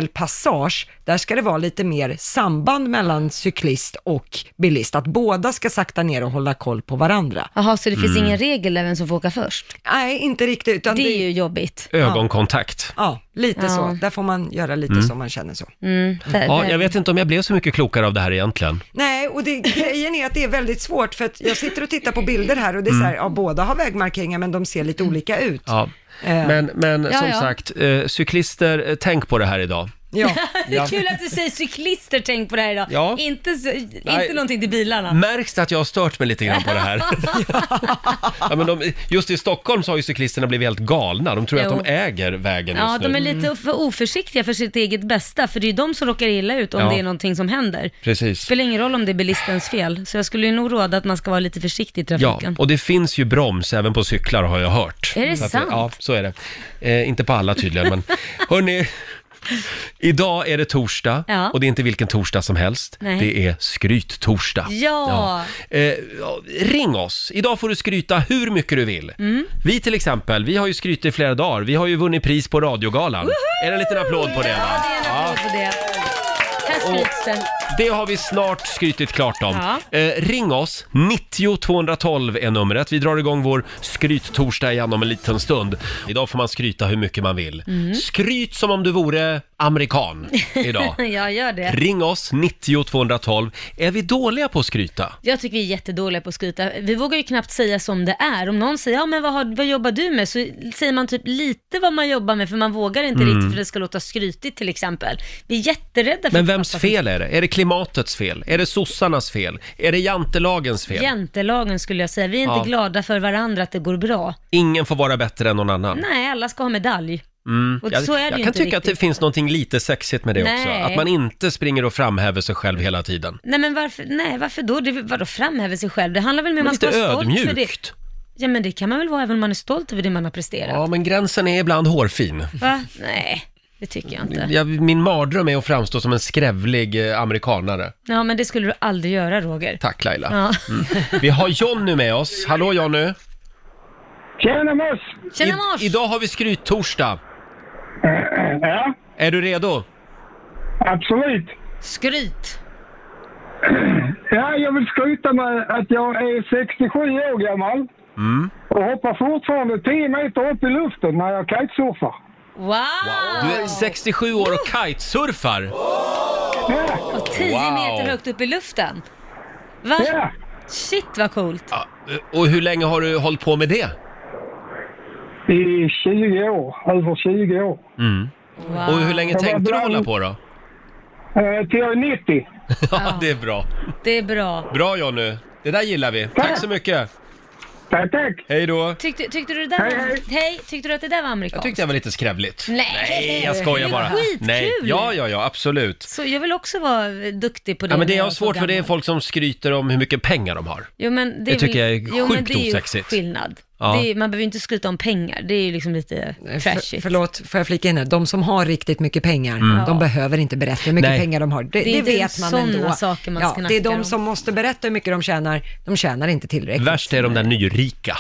Speaker 2: cykelpassage, där ska det vara lite mer samband mellan cyklist och bilist, att båda ska sakta ner och hålla koll på varandra.
Speaker 3: Jaha, så det finns
Speaker 1: Mm.
Speaker 3: ingen regel där vem som får åka först?
Speaker 2: Nej, inte riktigt. Utan
Speaker 3: det,
Speaker 2: det-
Speaker 3: är ju jobbigt.
Speaker 1: Ögonkontakt.
Speaker 2: Ja, lite
Speaker 3: Ja.
Speaker 2: så. Där får man göra lite
Speaker 1: Mm.
Speaker 2: som man känner så.
Speaker 3: Mm, där,
Speaker 1: Ja,
Speaker 3: där.
Speaker 1: jag vet inte om jag blev så mycket klokare av det här egentligen.
Speaker 2: Nej, och det, grejen är att det är väldigt svårt för att jag sitter och tittar på bilder här och det är så här, ja, båda har vägmarkeringar men de ser lite olika ut.
Speaker 1: Mm. Ja.
Speaker 2: Eh,
Speaker 1: Men, men
Speaker 3: Ja,
Speaker 1: som
Speaker 3: ja.
Speaker 1: sagt, eh, cyklister, eh, tänk på det här idag.
Speaker 2: ja.
Speaker 3: Det är kul att du säger cyklister, tänk på det här idag.
Speaker 1: Ja.
Speaker 3: Inte, så,
Speaker 1: Nej. Mm.
Speaker 3: inte någonting till bilarna.
Speaker 1: Märks det att jag har stört mig lite grann på det
Speaker 3: (laughs)
Speaker 1: här? ja, men de, just i Stockholm så har ju cyklisterna blivit helt galna. De tror
Speaker 3: Jo.
Speaker 1: att de äger vägen
Speaker 3: ja,
Speaker 1: just nu.
Speaker 3: de är lite för oförsiktiga för sitt eget bästa, för det är ju de som råkar illa ut om
Speaker 1: Ja.
Speaker 3: det är någonting som händer.
Speaker 1: Precis.
Speaker 3: spelar ingen roll om det är bilistens fel, så jag skulle ju nog råda att man ska vara lite försiktig i
Speaker 1: Ja,
Speaker 3: trafiken.
Speaker 1: och det finns ju broms även på cyklar har jag hört.
Speaker 3: Är det
Speaker 1: Så att
Speaker 3: sant?
Speaker 1: ja, så är det. Eh, inte på alla tydligen,
Speaker 3: (laughs)
Speaker 1: men hörni. Idag är det torsdag
Speaker 3: Ja.
Speaker 1: och det är inte vilken torsdag som helst.
Speaker 3: Nej.
Speaker 1: Det är skryttorsdag.
Speaker 3: Ja.
Speaker 1: Ja. Eh, ja, ring oss. Idag får du skryta hur mycket du vill.
Speaker 3: Mm.
Speaker 1: Vi till exempel, vi har ju skrytit i flera dagar. Vi har ju vunnit pris på radiogalan. Är det en liten applåd på det?
Speaker 3: Ja,
Speaker 1: Va?
Speaker 3: det är en applåd på det. Här slits (laughs) det.
Speaker 1: Det har vi snart skrytit klart om.
Speaker 3: Ja.
Speaker 1: Eh, ring oss, 90 212 är numret. Vi drar igång vår skryttorsdag igen om en liten stund. Idag får man skryta hur mycket man vill.
Speaker 3: Mm.
Speaker 1: Skryt som om du vore amerikan
Speaker 3: (laughs)
Speaker 1: idag.
Speaker 3: jag gör det.
Speaker 1: Ring oss, 90 212. Är vi dåliga på att skryta?
Speaker 3: Jag tycker vi är jättedåliga på att skryta. Vi vågar ju knappt säga som det är. Om någon säger, ja men vad, har, vad jobbar du med? Så säger man typ lite vad man jobbar med, för man vågar inte
Speaker 1: Mm.
Speaker 3: riktigt för det ska låta skrytigt till exempel. Vi är jätterädda för
Speaker 1: Men vems fel är det? Är det klimatets fel? Är det sossarnas fel? Är det jantelagens fel?
Speaker 3: Jantelagen skulle jag säga. Vi är inte
Speaker 1: Ja.
Speaker 3: glada för varandra att det går bra.
Speaker 1: Ingen får vara bättre än någon annan.
Speaker 3: Nej, alla ska ha medalj.
Speaker 1: Mm.
Speaker 3: Och
Speaker 1: jag
Speaker 3: så är det ju
Speaker 1: jag kan
Speaker 3: inte
Speaker 1: tycka att det
Speaker 3: riktigt.
Speaker 1: finns någonting lite sexigt med det
Speaker 3: Nej.
Speaker 1: också. Att man inte springer och framhäver sig själv hela tiden.
Speaker 3: Nej men varför, nej, varför då? Det, vadå framhäver sig själv? Det handlar väl mer om
Speaker 1: Men
Speaker 3: att man
Speaker 1: lite
Speaker 3: ska vara stolt för det.
Speaker 1: ödmjukt.
Speaker 3: Ja men det kan man väl vara även om man är stolt över det man har presterat?
Speaker 1: Ja, men gränsen är ibland hårfin.
Speaker 3: Va? Nej, det tycker jag inte.
Speaker 1: Jag, min mardröm är att framstå som en skrävlig eh, amerikanare.
Speaker 3: Ja men det skulle du aldrig göra Roger.
Speaker 1: Tack Laila.
Speaker 3: Ja.
Speaker 1: Mm. Vi har Jonny med oss. Hallå Jonny!
Speaker 12: Tjena mors!
Speaker 3: Tjena
Speaker 1: mors! Idag har vi skryttorsdag.
Speaker 12: Ja.
Speaker 1: Är du redo?
Speaker 12: Absolut.
Speaker 3: Skryt!
Speaker 12: Ja, jag vill skryta med att jag är 67 år gammal
Speaker 1: Mm.
Speaker 12: och hoppar fortfarande 10 meter upp i luften när jag kitesurfar.
Speaker 3: Wow!
Speaker 1: Du är 67 år och kitesurfar.
Speaker 3: Och 10
Speaker 1: Wow.
Speaker 3: meter högt upp i luften. Va? Shit vad coolt.
Speaker 1: eh, Och hur länge har du hållit på med det?
Speaker 12: I 20 år, över 20 år.
Speaker 1: Mm. Och hur länge
Speaker 12: Jag var
Speaker 1: tänkte du
Speaker 12: bland-
Speaker 1: hålla på då?
Speaker 12: Eh, till jag är 90.
Speaker 1: (laughs) Ja, det är bra.
Speaker 3: Det är bra.
Speaker 1: Bra Jonny, det där gillar vi. Tack så mycket.
Speaker 12: Tack, tack.
Speaker 1: Hej då.
Speaker 3: Tyckte, tyckte du det där var, hej. tyckte du att det där var amerikanskt?
Speaker 1: Jag tyckte jag var lite skrävligt.
Speaker 3: Nej.
Speaker 1: Nej, jag skojar bara.
Speaker 3: Det är skitkul.
Speaker 1: Nej, ja, ja, ja, absolut.
Speaker 3: Så jag vill också vara duktig på det.
Speaker 1: Ja, men
Speaker 3: när
Speaker 1: det jag
Speaker 3: jag
Speaker 1: har
Speaker 3: var
Speaker 1: svårt för det är
Speaker 3: gammal.
Speaker 1: folk som skryter om hur mycket pengar de har.
Speaker 3: Jo, men det,
Speaker 1: Det
Speaker 3: är väl-
Speaker 1: tycker jag är
Speaker 3: jo, men
Speaker 1: sjukt
Speaker 3: det är ju
Speaker 1: osexigt.
Speaker 3: skillnad.
Speaker 1: Ja.
Speaker 3: Det är, man behöver ju inte skryta om pengar, det är ju liksom lite trashigt.
Speaker 2: För, förlåt, får jag flika in här? De som har riktigt mycket pengar,
Speaker 3: Mm.
Speaker 2: de behöver inte berätta hur mycket
Speaker 3: Nej.
Speaker 2: pengar de har. Det,
Speaker 3: Det är
Speaker 2: det,
Speaker 3: inte
Speaker 2: vet man
Speaker 3: sådana
Speaker 2: ändå.
Speaker 3: saker man
Speaker 2: ja,
Speaker 3: snackar
Speaker 2: det är de
Speaker 3: om.
Speaker 2: som måste berätta hur mycket de tjänar. De tjänar inte tillräckligt.
Speaker 1: Värst är de där nyrika,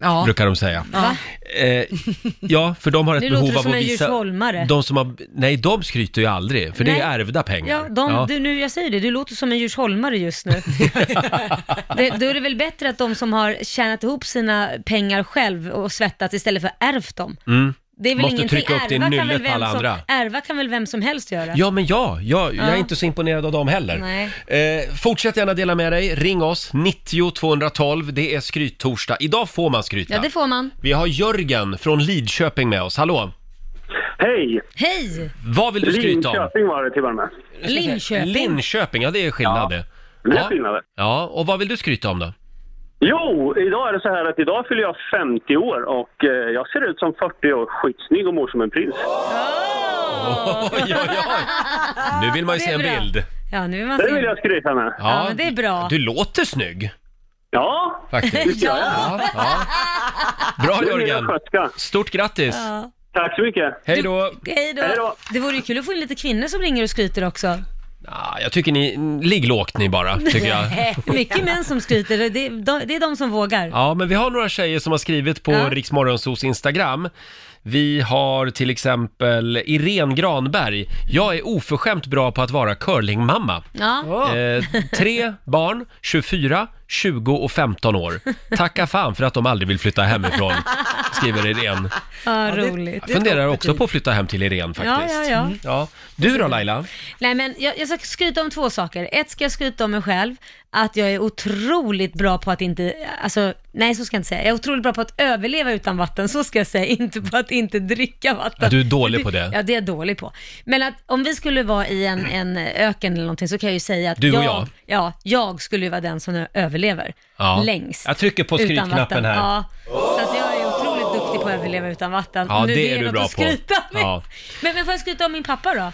Speaker 2: Ja.
Speaker 1: brukar de säga.
Speaker 3: Va?
Speaker 1: Eh, ja, för de har ett
Speaker 3: Nu låter
Speaker 1: behov
Speaker 3: du
Speaker 1: av
Speaker 3: som
Speaker 1: att
Speaker 3: en
Speaker 1: visa...
Speaker 3: djursholmare.
Speaker 1: De som har... Nej, de skryter ju aldrig, för det
Speaker 3: Nej.
Speaker 1: är ärvda pengar.
Speaker 3: Ja, de, Du, nu, jag säger det, du låter som en djursholmare
Speaker 1: (laughs)
Speaker 3: just nu. det, då är det väl bättre att de som har tjänat ihop sina pengar själv och svettat istället för ärvt dem.
Speaker 1: Mm.
Speaker 3: Det är väl
Speaker 1: Måste
Speaker 3: ingenting.
Speaker 1: trycka upp det i
Speaker 3: Ärva kan
Speaker 1: nyllet
Speaker 3: väl
Speaker 1: på alla
Speaker 3: vem
Speaker 1: andra.
Speaker 3: Som, ärva kan väl vem som helst göra?
Speaker 1: Ja, men ja, jag, jag är
Speaker 3: Ja.
Speaker 1: inte så imponerad av dem heller.
Speaker 3: Nej.
Speaker 1: Eh, fortsätt gärna dela med dig. Ring oss, 90 212. Det är skryttorsdag. Idag får man skryta.
Speaker 3: Ja, det får man.
Speaker 1: Vi har Jörgen från Lidköping med oss. Hallå!
Speaker 13: Hej!
Speaker 3: Hej!
Speaker 1: Vad vill du skryta om?
Speaker 13: Linköping var det till och med.
Speaker 3: Linköping.
Speaker 1: Linköping, ja det är skillnad det.
Speaker 13: Det är
Speaker 1: Ja.
Speaker 13: skillnaden.
Speaker 1: Ja, och vad vill du skryta om då?
Speaker 13: Jo, idag är det så här att idag fyller jag 50 år och eh, jag ser ut som 40 år, skitsnygg och mår som en prins.
Speaker 1: (laughs) Nu vill man ju
Speaker 3: Det
Speaker 1: se
Speaker 3: är
Speaker 1: en
Speaker 3: bra.
Speaker 1: bild.
Speaker 3: Ja, nu vill man
Speaker 13: Det
Speaker 3: se.
Speaker 13: vill jag skryta med.
Speaker 3: Ja, men det är bra.
Speaker 1: Du låter snygg.
Speaker 13: Ja,
Speaker 3: (laughs)
Speaker 1: Faktiskt.
Speaker 3: Ja.
Speaker 1: Bra
Speaker 13: Nu är jag
Speaker 1: Jörgen! Stort grattis!
Speaker 3: Ja.
Speaker 13: Tack så mycket!
Speaker 1: Hej då!
Speaker 3: Hej då. Det vore ju kul att få in lite kvinnor som ringer och skryter också.
Speaker 1: Ah, jag tycker ni, ligg lågt ni bara, tycker jag.
Speaker 3: Mycket män som skryter, det är, de, det är de som vågar.
Speaker 1: Ja, men vi har några tjejer som har skrivit på
Speaker 3: Ja.
Speaker 1: ja. Riksmorgonsos Instagram. Vi har till exempel Irene Granberg. Jag är oförskämt bra på att vara curlingmamma.
Speaker 3: Ja.
Speaker 1: Eh, tre barn, 24, 20 och 15 år. Tacka fan för att de aldrig vill flytta hemifrån, skriver Irene.
Speaker 3: Ja, roligt.
Speaker 1: Jag funderar också på att flytta hem till Irene faktiskt.
Speaker 3: Ja, ja, ja.
Speaker 1: Mm. ja. Du då Laila?
Speaker 3: Nej men jag, jag ska skryta om två saker. Ett ska jag skryta om mig själv, att jag är otroligt bra på att inte, alltså nej så ska jag inte säga. Jag är otroligt bra på att överleva utan vatten, så ska jag säga, (laughs) inte på att inte dricka
Speaker 1: Ja,
Speaker 3: vatten.
Speaker 1: du är dålig på det.
Speaker 3: Ja det är jag dålig på. Men att om vi skulle vara i en, en öken eller någonting så kan jag ju säga att
Speaker 1: Du och jag.
Speaker 3: jag, ja, jag skulle ju vara den som överlever
Speaker 1: Ja.
Speaker 3: längst.
Speaker 1: Jag trycker på
Speaker 3: utan
Speaker 1: skrytknappen
Speaker 3: vatten.
Speaker 1: här.
Speaker 3: Ja, så att jag är otroligt duktig på att överleva utan vatten.
Speaker 1: Ja,
Speaker 3: Nu,
Speaker 1: det är du
Speaker 3: något
Speaker 1: bra
Speaker 3: att
Speaker 1: på.
Speaker 3: skryta med.
Speaker 1: Ja.
Speaker 3: Men, men får jag skryta om min pappa då?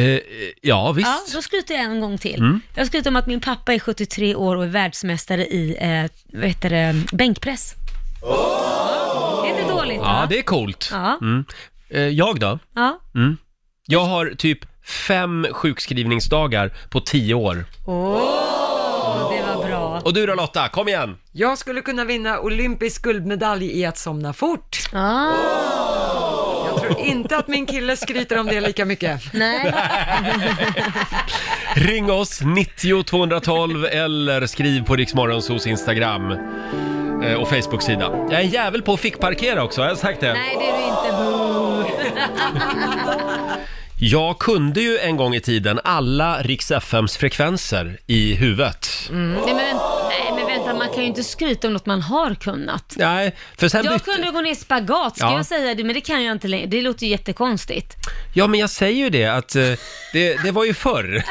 Speaker 1: Eh, eh, ja, visst.
Speaker 3: Ja, då skryter jag en gång till.
Speaker 1: Mm.
Speaker 3: Jag skryter om att min pappa är 73 år och är världsmästare i, eh, vad heter det, bänkpress. Det är inte dåligt
Speaker 1: Oh! Ja,
Speaker 3: va?
Speaker 1: det är coolt.
Speaker 3: Ja.
Speaker 1: Mm. Eh, jag då?
Speaker 3: Ja.
Speaker 1: Mm. Jag har typ fem sjukskrivningsdagar på tio år.
Speaker 3: Åh, det var bra.
Speaker 1: Och du då Lotta, kom igen!
Speaker 2: Jag skulle kunna vinna olympisk guldmedalj i att somna fort.
Speaker 3: Ah.
Speaker 2: Jag tror inte att min kille skryter om det lika mycket.
Speaker 3: Nej.
Speaker 1: Ring oss, 90 212 eller skriv på Riksmorgonsos Instagram eh, och Facebook-sida. Jag är en jävel på att fickparkera också, har jag sagt det?
Speaker 3: Nej, det är du inte. Boo.
Speaker 1: Jag kunde ju en gång i tiden alla Rix FMs frekvenser i huvudet.
Speaker 3: Mm. Nej, men, nej men vänta, man kan ju inte skryta om något man har kunnat.
Speaker 1: Nej, för sen
Speaker 3: jag
Speaker 1: bytte...
Speaker 3: kunde gå ner i spagat, ska
Speaker 1: Ja.
Speaker 3: jag säga det, men det kan jag inte längre. Det låter ju jättekonstigt.
Speaker 1: Ja, men jag säger ju det att eh, det, det var ju
Speaker 3: (laughs)
Speaker 1: förr.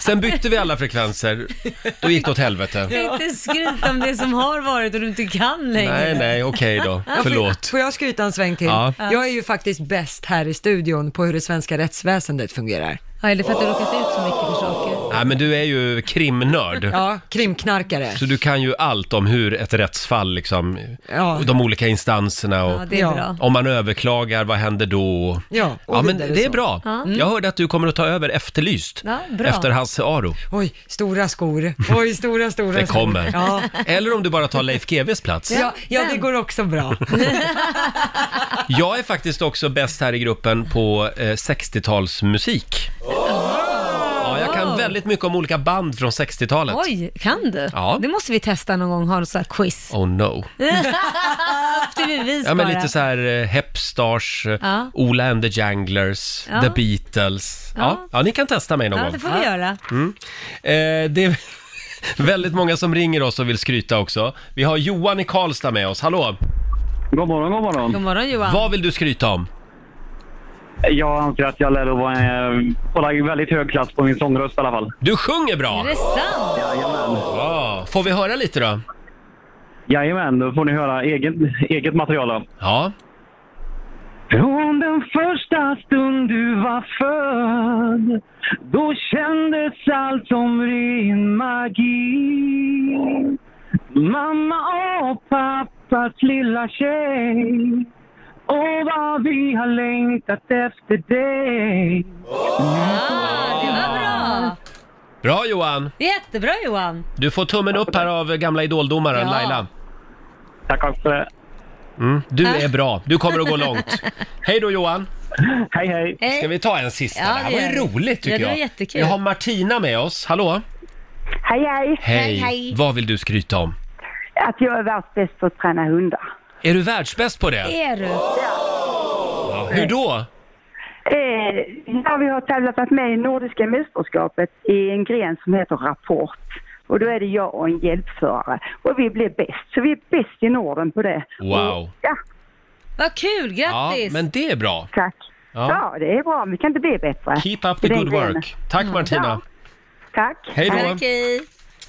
Speaker 1: Sen bytte vi alla frekvenser. Då gick det åt helvete.
Speaker 3: Inte skryta om det som har varit och du inte kan längre.
Speaker 1: Nej, nej, okej då.
Speaker 2: Ja, får-
Speaker 1: Förlåt.
Speaker 2: Får jag skryta en sväng till?
Speaker 1: Ja.
Speaker 2: Jag är ju faktiskt bäst här i studion på hur det svenska rättsväsendet fungerar.
Speaker 3: Ja, eller för att du råkat ut så mycket för saker.
Speaker 1: Nej, men du är ju krimnörd.
Speaker 2: Ja, krimknarkare.
Speaker 1: Så du kan ju allt om hur ett rättsfall, liksom,
Speaker 2: Ja.
Speaker 1: och de olika instanserna och
Speaker 2: Ja, det är bra.
Speaker 1: om man överklagar, vad händer då?
Speaker 2: Ja, och
Speaker 1: ja men
Speaker 2: vidare
Speaker 1: det är
Speaker 2: så.
Speaker 1: bra.
Speaker 2: Ja. Mm.
Speaker 1: Jag hörde att du kommer att ta över Efterlyst
Speaker 2: Ja, bra.
Speaker 1: efter Hasse Aro.
Speaker 2: Oj, stora skor. Oj, stora, stora
Speaker 1: Det
Speaker 2: skor.
Speaker 1: kommer.
Speaker 2: Ja.
Speaker 1: Eller om du bara tar Leif GWs plats.
Speaker 2: Ja, ja, det går också bra.
Speaker 1: Jag är faktiskt också bäst här i gruppen på eh, 60-talsmusik. Ja, jag kan väldigt mycket om olika band från 60-talet.
Speaker 3: Oj, kan du?
Speaker 1: Ja.
Speaker 3: Det måste vi testa någon gång, ha en sån här quiz.
Speaker 1: Oh no.
Speaker 3: Upp till bevis
Speaker 1: Ja, men
Speaker 3: bara.
Speaker 1: lite så här eh, Hep Stars, eh,
Speaker 3: Ja.
Speaker 1: Ola and the Janglers,
Speaker 3: Ja.
Speaker 1: The Beatles. Ja. Ja.
Speaker 3: Ja.
Speaker 1: ni kan testa mig någon
Speaker 3: Ja,
Speaker 1: gång.
Speaker 3: det får vi göra.
Speaker 1: Mm. Eh, det är (laughs) väldigt många som ringer oss och vill skryta också. Vi har Johan i Karlstad med oss. Hallå!
Speaker 14: God morgon, god morgon.
Speaker 3: God morgon Johan.
Speaker 1: Vad vill du skryta om?
Speaker 14: Jag anser att jag lär att vara en, hålla en väldigt hög klass på min sångröst i alla fall.
Speaker 1: Du sjunger bra!
Speaker 3: Är det sant?
Speaker 1: Ja. Får vi höra lite då?
Speaker 14: Jajamän, då får ni höra eget, eget material då.
Speaker 1: Ja.
Speaker 14: Från den första stund du var född Då kändes allt som ren magi Mamma och pappas lilla tjej Åh, vad vi har längtat efter dig
Speaker 3: Det var bra.
Speaker 1: Bra Johan!
Speaker 3: Jättebra Johan.
Speaker 1: Du får tummen upp här av gamla idoldomaren
Speaker 3: Ja.
Speaker 1: Laila.
Speaker 14: Tack också.
Speaker 1: Mm. Du är bra. Du kommer att gå
Speaker 3: (laughs)
Speaker 1: långt. Hej då Johan!
Speaker 14: Hej hej!
Speaker 3: Hej.
Speaker 1: Ska vi ta en sista?
Speaker 3: Ja,
Speaker 1: det här
Speaker 3: det
Speaker 1: var
Speaker 3: gör
Speaker 1: ju
Speaker 3: vi.
Speaker 1: roligt tycker
Speaker 3: Ja, det
Speaker 1: jag.
Speaker 3: var jättekul.
Speaker 1: Vi har Martina med oss. Hallå!
Speaker 15: Hej, hej.
Speaker 1: Hej. Vad vill du skryta om?
Speaker 15: Att jag är världsbäst på att träna hundar.
Speaker 1: Är du världsbäst på det?
Speaker 3: Är du?
Speaker 1: Ja. Hur då?
Speaker 15: Eh, ja, vi har tävlat varit med i Nordiska mästerskapet i en gren som heter rapport. Och då är det jag och en hjälpförare. Och vi blev bäst, så vi är bäst i Norden på det.
Speaker 1: Wow!
Speaker 15: Ja,
Speaker 3: Vad kul,
Speaker 1: Ja,
Speaker 3: grattis.
Speaker 1: men det är bra.
Speaker 15: tack.
Speaker 1: Ja.
Speaker 15: Ja, det är bra. Vi kan inte bli bättre.
Speaker 1: Keep up the
Speaker 15: I den
Speaker 1: good
Speaker 15: grenen.
Speaker 1: work. Tack Martina.
Speaker 15: Tack.
Speaker 1: Hej då.
Speaker 3: Tack, hej.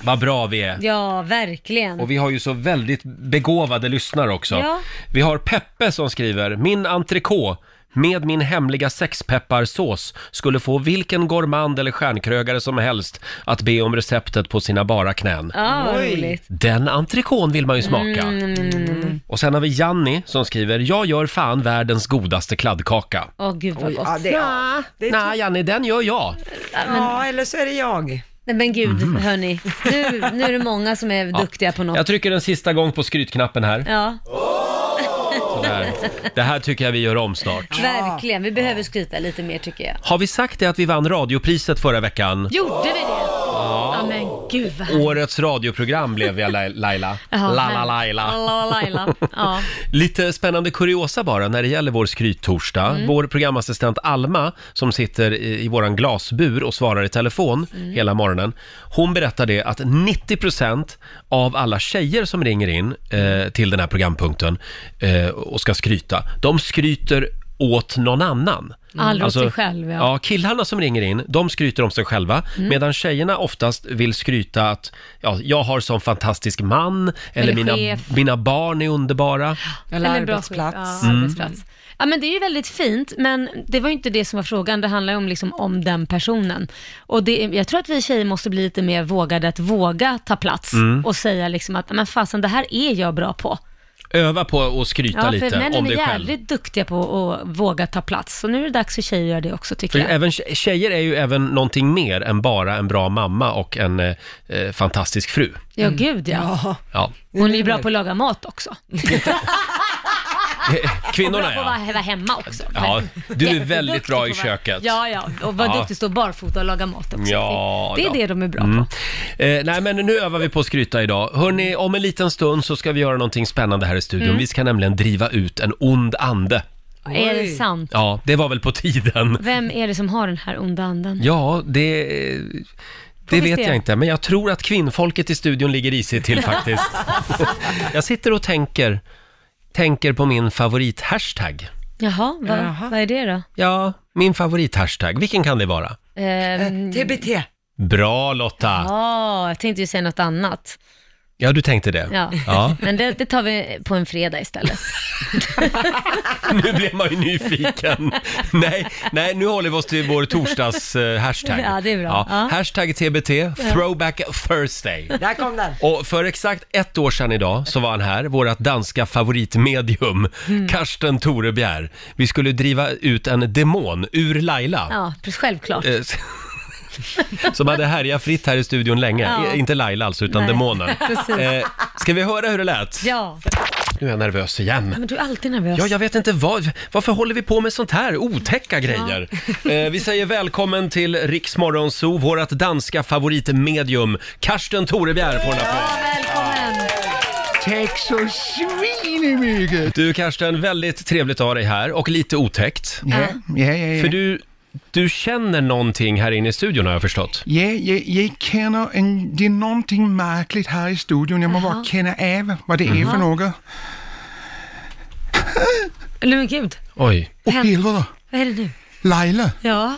Speaker 1: Vad bra vi är.
Speaker 3: Ja, verkligen.
Speaker 1: Och vi har ju så väldigt begåvade lyssnare också.
Speaker 3: Ja.
Speaker 1: Vi har Peppe som skriver, min entrecote med min hemliga sexpepparsås skulle få vilken gourmand eller stjärnkrögare som helst att be om receptet på sina bara knän.
Speaker 3: Ja, vad roligt.
Speaker 1: Den entrecôten vill man ju smaka.
Speaker 3: Mm,
Speaker 1: Och sen har vi Janni som skriver, jag gör fan världens godaste kladdkaka.
Speaker 3: Åh gud vad
Speaker 2: Oj,
Speaker 3: gott.
Speaker 2: ja, det- ja. Det är
Speaker 1: Nej, Janni, den gör jag.
Speaker 2: Ja, eller så är det jag.
Speaker 3: Nej men gud, hörni. Nu, nu är det många som är
Speaker 1: Mhm. Ja.
Speaker 3: duktiga på något.
Speaker 1: Jag trycker en sista gång på skrytknappen här.
Speaker 3: Ja,
Speaker 1: Sådär. Det här tycker jag vi gör om snart.
Speaker 3: verkligen. Vi behöver skryta lite mer tycker jag.
Speaker 1: Har vi sagt det att vi vann radiopriset förra veckan?
Speaker 3: Gjorde vi det? Ja. men gud vad härligt.
Speaker 1: Årets radioprogram blev jag Lai- Laila.
Speaker 3: Jaha,
Speaker 1: Lala
Speaker 3: härligt.
Speaker 1: Laila.
Speaker 3: Lala Laila. Ja.
Speaker 1: Lite spännande kuriosa bara när det gäller vår skryttorsdag.
Speaker 3: Mm.
Speaker 1: Vår programassistent Alma som sitter i, i våran glasbur och svarar i telefon
Speaker 10: Mm.
Speaker 1: hela morgonen. Hon berättar det att 90% av alla tjejer som ringer in eh, till den här programpunkten eh, och ska skryta, de skryter åt någon annan. Alltså,
Speaker 10: Aldrig åt sig själv, ja.
Speaker 1: ja, killarna som ringer in, de skryter om sig själva,
Speaker 10: Mm.
Speaker 1: medan tjejerna oftast vill skryta att ja, jag har sån fantastisk man, eller,
Speaker 3: Eller
Speaker 1: mina,
Speaker 3: chef.
Speaker 1: mina barn är underbara.
Speaker 3: Eller bra skit. Ja,
Speaker 1: Mm.
Speaker 3: arbetsplats. Ja, men det är ju väldigt fint, men det var ju inte det som var frågan. Det handlar ju om, liksom, om den personen. Och det, är- jag tror att vi tjejer måste bli lite mer vågade att våga ta plats
Speaker 1: Mm.
Speaker 3: och säga liksom att, men fasen, det här är jag bra på.
Speaker 1: Öva på att skryta
Speaker 3: Ja, för
Speaker 1: lite om
Speaker 3: männen är
Speaker 1: dig själv.
Speaker 3: jävligt duktiga på att våga ta plats, så nu är det dags för tjejer att göra det också tycker
Speaker 1: För
Speaker 3: jag.
Speaker 1: även tje- tjejer är ju även någonting mer än bara en bra mamma och en eh, eh, fantastisk fru.
Speaker 3: Ja, gud ja. (laughs)
Speaker 1: Ja.
Speaker 3: Hon är ju bra på att laga mat också.
Speaker 1: Kvinnorna,
Speaker 3: och bra på att vara- vara hemma också.
Speaker 1: Ja, du är
Speaker 3: (laughs) Jätteduktig
Speaker 1: väldigt bra
Speaker 3: på
Speaker 1: i
Speaker 3: att vara-
Speaker 1: köket.
Speaker 3: Ja, ja, och var
Speaker 1: Ja.
Speaker 3: duktig att stå barfota och laga mat också.
Speaker 1: Ja,
Speaker 3: det är
Speaker 1: ja.
Speaker 3: det de är bra på.
Speaker 1: Mm. Eh, nej, men nu övar vi på att skryta idag. Hörni, om en liten stund så ska vi göra någonting spännande här i studion.
Speaker 3: Mm.
Speaker 1: Vi ska nämligen driva ut en ond ande.
Speaker 3: Är det sant?
Speaker 1: Ja, det var väl på tiden.
Speaker 3: Vem är det som har den här onda anden?
Speaker 1: Ja, det...
Speaker 3: Får
Speaker 1: Det
Speaker 3: vi
Speaker 1: vet
Speaker 3: se.
Speaker 1: jag inte, men jag tror att kvinnfolket i studion ligger risigt
Speaker 3: (laughs)
Speaker 1: till faktiskt. jag sitter och tänker, tänker på min favorithashtag.
Speaker 3: Jaha, vad, vad är det då?
Speaker 1: Ja, min favorithashtag. Vilken kan det vara?
Speaker 10: Eh.
Speaker 2: Mm.
Speaker 3: Ehm,
Speaker 2: TBT.
Speaker 1: Bra Lotta! Ja,
Speaker 3: Ja, jag tänkte ju säga något annat.
Speaker 1: du tänkte det?
Speaker 3: Ja.
Speaker 1: ja.
Speaker 3: Men det, det tar vi på en fredag istället.
Speaker 1: (laughs) Nu blev man ju
Speaker 3: (laughs)
Speaker 1: nyfiken. nej, nej, nu håller vi oss till vår torsdags eh, hashtag.
Speaker 3: Ja, det är bra. Ja.
Speaker 1: Hashtag TBT, throwback Thursday.
Speaker 2: Där kom den.
Speaker 1: Och för exakt ett år sedan idag så var han här, vårt danska favoritmedium,
Speaker 3: Mm.
Speaker 1: Karsten Torebjer. Vi skulle driva ut en demon ur Laila.
Speaker 3: Ja, självklart.
Speaker 1: Eh, s- (laughs) Som hade härjat fritt här i studion länge.
Speaker 3: Ja.
Speaker 1: I- Inte Laila alltså, utan
Speaker 3: Nej,
Speaker 1: demonen.
Speaker 3: (laughs)
Speaker 1: Eh,
Speaker 3: precis.
Speaker 1: ska vi höra hur det lät?
Speaker 3: Ja,
Speaker 1: Nu är jag nervös igen.
Speaker 3: men du är alltid nervös.
Speaker 1: Ja, jag vet inte vad, varför håller vi på med sånt här otäcka grejer? Eh, vi säger välkommen till Riksmorgonzoo, vårt danska favoritmedium. Karsten Torebjer får en applåd.
Speaker 3: Välkommen!
Speaker 10: Tack så svinemycket!
Speaker 1: Du Karsten, väldigt trevligt att ha dig här och lite otäckt.
Speaker 10: Ja, ja, ja, ja.
Speaker 1: För du, du känner någonting här inne i studion har jag förstått.
Speaker 10: Ja, jag, jag känner en, det är någonting märkligt här i studion. Jag måste bara känna av vad det är
Speaker 3: Jaha.
Speaker 10: för något.
Speaker 3: Eller men gud,
Speaker 1: Oj.
Speaker 10: Åh helvete!
Speaker 3: vad är det nu?
Speaker 10: Laila,
Speaker 3: Ja,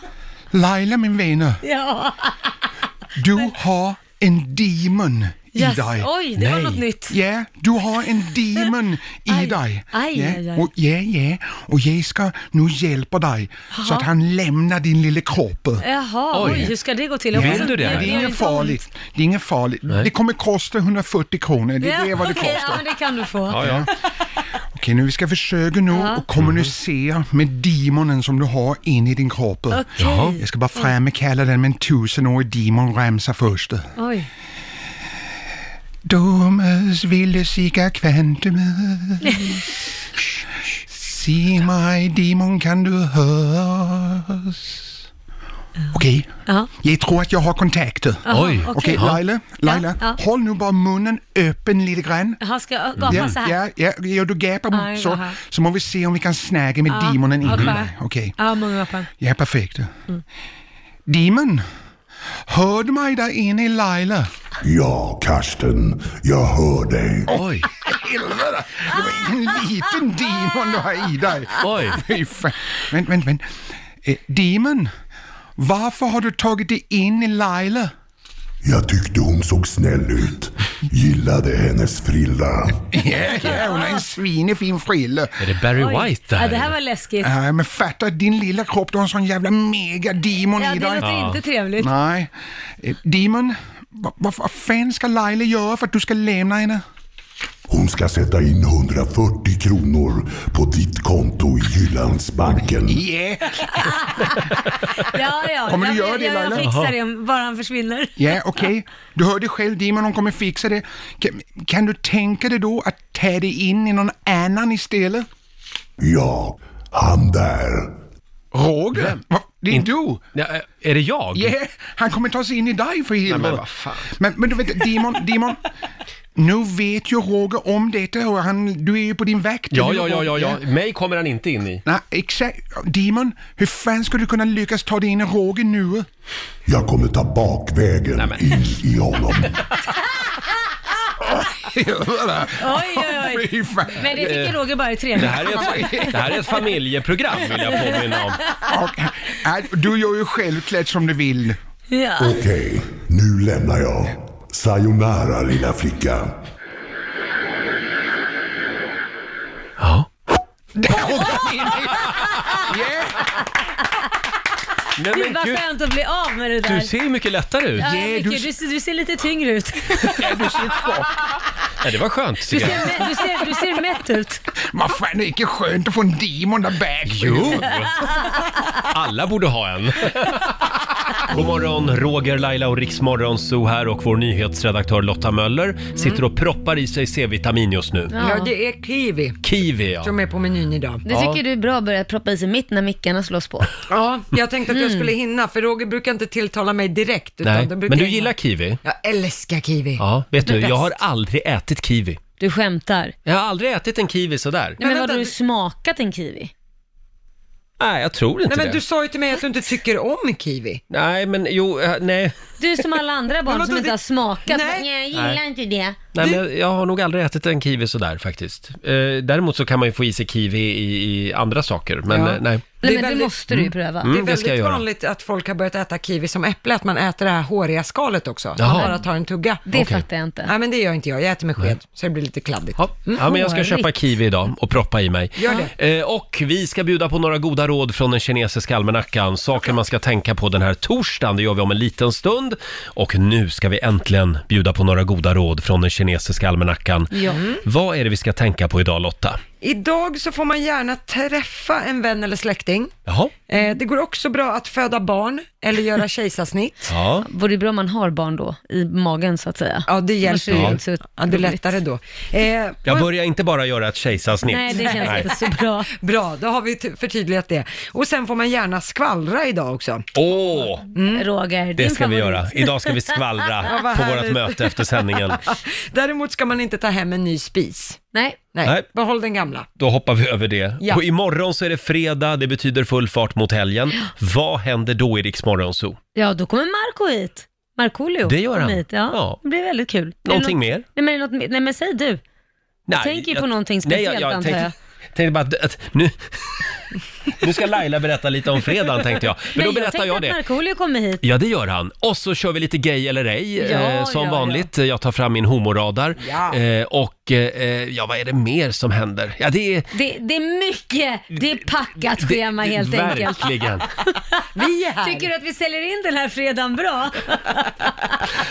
Speaker 10: Laila min vän,
Speaker 3: ja.
Speaker 10: du har en demon i
Speaker 3: Yes.
Speaker 10: dig.
Speaker 3: Oj, det var Nej. något nytt.
Speaker 10: Ja, du har en demon i dig.
Speaker 3: Aj,
Speaker 10: ja.
Speaker 3: aj, aj.
Speaker 10: Och, ja, ja. Och jag ska nu hjälpa dig så
Speaker 3: Jaha.
Speaker 10: att han lämnar din lilla kropp.
Speaker 3: Jaha, oj.
Speaker 10: Oj.
Speaker 3: hur ska det gå till?
Speaker 10: Ja,
Speaker 3: Jag hoppas att-
Speaker 10: Det,
Speaker 3: gör
Speaker 10: är inget
Speaker 3: inte
Speaker 10: farligt. Det är inget farligt. Det kommer kosta 140 kronor.
Speaker 3: ont.
Speaker 10: Det, det är vad det
Speaker 3: okej,
Speaker 10: kostar.
Speaker 3: Ja, men det kan du få.
Speaker 10: Okej, nu vi ska försöka nu
Speaker 3: Ja.
Speaker 10: och kommunicera med demonen som du har in i din kropp.
Speaker 3: Okej. Jaha.
Speaker 10: Jag ska bara framkalla den med en tusenårig demonramsa först.
Speaker 3: Oj.
Speaker 10: Domus ville siga kvantumus. Se mig demon, kan du höra oss? Okej,
Speaker 3: Ja.
Speaker 10: jag tror att jag har kontakter.
Speaker 3: Jaha, Oj. okej.
Speaker 10: Okej,
Speaker 3: Ja.
Speaker 10: Laila, Laila
Speaker 3: Ja, ja.
Speaker 10: håll nu bara munnen öppen lite grann.
Speaker 3: Jaha, ska jag gapa
Speaker 10: Ja,
Speaker 3: så här?
Speaker 10: ja, ja, ja, du gapar
Speaker 3: Aj,
Speaker 10: så,
Speaker 3: jaha.
Speaker 10: så må vi se om vi kan snacka med
Speaker 3: Ja,
Speaker 10: demonen innan
Speaker 3: okej.
Speaker 10: dig. Okej,
Speaker 3: Ja, många gapar.
Speaker 10: ja perfekt. Demon, hör du mig där inne i Laila?
Speaker 16: Ja, Karsten, jag hör dig.
Speaker 1: Oj!
Speaker 10: Helvete! Det var en liten demon du har i dig.
Speaker 1: Oj!
Speaker 10: Fy fan. Vänt, vänt, vänt. Eh, demon, varför har du tagit dig in i Laila?
Speaker 16: Jag tyckte hon såg snäll ut. Gillade hennes frilla.
Speaker 10: Ja, ja, hon har en svinefin frilla.
Speaker 1: Är det Barry
Speaker 3: Oj. White där, Ja, det här eller? var läskigt.
Speaker 10: Nej, men fatta din lilla kropp, du har en sån jävla megademon
Speaker 3: Ja,
Speaker 10: i
Speaker 3: det
Speaker 10: dig.
Speaker 3: låter inte trevligt.
Speaker 10: Nej. Eh, Demon, vad, vad, vad fan ska Laila göra för att du ska lämna henne?
Speaker 16: Hon ska sätta in 140 kronor på ditt konto i Jyllandsbanken.
Speaker 10: Yeah.
Speaker 3: Ja, ja.
Speaker 10: Kommer du
Speaker 3: jag,
Speaker 10: göra
Speaker 3: jag,
Speaker 10: det,
Speaker 3: jag, jag
Speaker 10: Laila?
Speaker 3: fixar
Speaker 10: Jaha.
Speaker 3: det om bara han försvinner.
Speaker 10: Ja, Eh, okej. Du hörde själv Demon, hon kommer fixa det. Kan, kan du tänka dig då att ta dig in i någon annan istället?
Speaker 16: Ja, han där.
Speaker 10: Roger? Va? Det är du?
Speaker 1: är det jag?
Speaker 10: Ja, han kommer ta sig in i dig för helvete. Men, men du vet, Demon, Demon. Nu vet ju Roger om detta och han, du är ju på din vakt.
Speaker 1: Ja,
Speaker 10: eller
Speaker 1: ja, ja,
Speaker 10: hur,
Speaker 1: ja,
Speaker 10: Roger?
Speaker 1: ja. Mig kommer han inte in i.
Speaker 10: Nej, exakt. Demon, hur fan ska du kunna lyckas ta dig in i
Speaker 1: (laughs)
Speaker 10: Roger nu?
Speaker 16: Jag kommer ta bakvägen in i honom.
Speaker 3: Oj,
Speaker 10: (laughs)
Speaker 3: oj, oj. Men det tycker Roger bara är trevligt.
Speaker 1: Det här är ett, det här är ett familjeprogram vill jag påminna om.
Speaker 10: Nej, Du gör ju självklart som du vill.
Speaker 3: Ja.
Speaker 16: Okej, nu lämnar jag. Sayonara lilla flicka.
Speaker 1: Nej,
Speaker 3: Gud
Speaker 1: men
Speaker 3: vad
Speaker 1: gud,
Speaker 3: skönt att bli av med det där.
Speaker 1: du ser ju mycket lättare ut.
Speaker 3: Ja, du... Du, ser- du ser lite tyngre ut.
Speaker 1: Ja, det var skönt.
Speaker 3: Du
Speaker 1: tycker jag.
Speaker 3: ser, mä- du, ser, du ser mätt ut.
Speaker 10: Vad fan, det är inte skönt att få en demon där bak.
Speaker 1: Jo. Alla borde ha en. God morgon, Roger, Laila och Riksmorgon Zoo här och vår nyhetsredaktör Lotta Möller sitter och proppar i sig C-vitamin just nu.
Speaker 2: Ja, det är kiwi
Speaker 1: Kiwi ja.
Speaker 2: som är på menyn idag.
Speaker 3: Det tycker du är bra att börja proppa i sig mitt när mickarna slås på.
Speaker 2: Ja, jag tänkte att jag skulle hinna, för Roger brukar inte tilltala mig direkt. Utan
Speaker 1: Nej,
Speaker 2: det brukar
Speaker 1: men du
Speaker 2: jag-
Speaker 1: gillar kiwi?
Speaker 2: Jag älskar kiwi.
Speaker 1: Ja, vet
Speaker 2: Det
Speaker 1: du,
Speaker 2: är
Speaker 1: jag har
Speaker 2: bäst.
Speaker 1: aldrig ätit kiwi.
Speaker 3: Du skämtar.
Speaker 1: Jag har aldrig ätit en kiwi sådär.
Speaker 3: Nej, men vad har du smakat en kiwi?
Speaker 1: Nej, jag tror inte
Speaker 2: Nej, men
Speaker 1: det.
Speaker 2: du sa ju till mig att du inte tycker om kiwi.
Speaker 1: Nej, men jo, eh, nej.
Speaker 3: Du är som alla andra
Speaker 2: Men
Speaker 3: barn
Speaker 2: vadå,
Speaker 3: som inte
Speaker 2: det-
Speaker 3: har smakat.
Speaker 2: Nej.
Speaker 3: Nej, jag gillar
Speaker 1: Nej.
Speaker 3: inte det.
Speaker 1: Nej, men jag, jag har nog aldrig ätit en kiwi sådär faktiskt. Eh, däremot så kan man ju få i sig kiwi i, i andra saker, men
Speaker 2: Ja.
Speaker 1: eh, nej.
Speaker 2: Det är väldigt-
Speaker 1: Mm,
Speaker 2: det är
Speaker 1: det ska jag
Speaker 2: väldigt
Speaker 1: göra.
Speaker 2: vanligt att folk har börjat äta kiwi som äpple, att man äter det här håriga skalet också. Att Man
Speaker 1: Jaha.
Speaker 2: bara tar en tugga.
Speaker 1: Det Okej. fattar
Speaker 3: jag inte.
Speaker 2: Nej, men det gör inte jag. Jag äter med sked, så det blir lite kladdigt.
Speaker 1: Ja, men jag ska köpa kiwi idag och proppa i mig.
Speaker 2: Gör
Speaker 1: Eh, och vi ska bjuda på några goda råd från den kinesiska almanackan. Saker man ska tänka på den här torsdagen, det gör vi om en liten stund. Och nu ska vi äntligen bjuda på några goda råd från den kinesiska almanackan.
Speaker 2: Ja. Mm.
Speaker 1: Vad är det vi ska tänka på idag Lotta?
Speaker 2: Idag så får man gärna träffa en vän eller släkting.
Speaker 1: Jaha?
Speaker 2: Eh, det går också bra att föda barn
Speaker 1: (laughs)
Speaker 2: eller göra kejsarsnitt.
Speaker 1: Ja.
Speaker 3: Vore det bra om man har barn då, i magen så att säga.
Speaker 2: Ja, det
Speaker 3: hjälper
Speaker 1: ju.
Speaker 2: Ja, det är lättare då. Eh,
Speaker 1: Jag börjar inte bara göra ett kejsarsnitt.
Speaker 3: bra.
Speaker 2: bra, då har vi ty- förtydligat det. Och sen får man gärna skvallra idag också.
Speaker 1: Åh!
Speaker 3: Roger,
Speaker 1: Mm. Det ska vi göra. Idag ska vi
Speaker 3: (laughs)
Speaker 1: skvallra
Speaker 2: Ja, vad
Speaker 1: på vårt
Speaker 2: härligt.
Speaker 1: möte efter sändningen.
Speaker 2: Däremot ska man inte ta hem en ny spis.
Speaker 3: Nej.
Speaker 2: Nej,
Speaker 1: Nej.
Speaker 2: behåll den gamla.
Speaker 1: Då hoppar vi över det.
Speaker 2: Ja.
Speaker 1: Och imorgon så är det fredag, det betyder full fart mot helgen. Vad händer då i Rix Morgon Zoo?
Speaker 3: Ja, då kommer Marco hit. Markoolio.
Speaker 1: Det gör han.
Speaker 3: kommer Hit. Ja,
Speaker 1: Ja.
Speaker 3: Det blir väldigt kul. Är det
Speaker 1: Någonting
Speaker 3: något-
Speaker 1: mer?
Speaker 3: Nej men, är det något, mer? nej, men säg du.
Speaker 1: Nej,
Speaker 3: tänker ju
Speaker 1: jag-
Speaker 3: på någonting speciellt antar jag.
Speaker 1: tänkte, tänkte bara att, att nu, nu ska Laila berätta lite om fredagen tänkte jag. Men då
Speaker 3: Nej,
Speaker 1: berättar jag,
Speaker 3: Jag tänkte
Speaker 1: det.
Speaker 3: att Markoolio kommer hit.
Speaker 1: Ja, det gör han. Och så kör vi lite gay eller ej,
Speaker 3: Ja,
Speaker 1: eh, som
Speaker 3: ja,
Speaker 1: vanligt. Jag tar fram min homoradar.
Speaker 3: Ja.
Speaker 1: Eh, och eh, ja, vad är det mer som händer? Ja, det är...
Speaker 3: Det, det är mycket, det är packat schema helt enkelt.
Speaker 1: Verkligen.
Speaker 2: Vi är här.
Speaker 3: Tycker du att vi säljer in den här fredagen bra?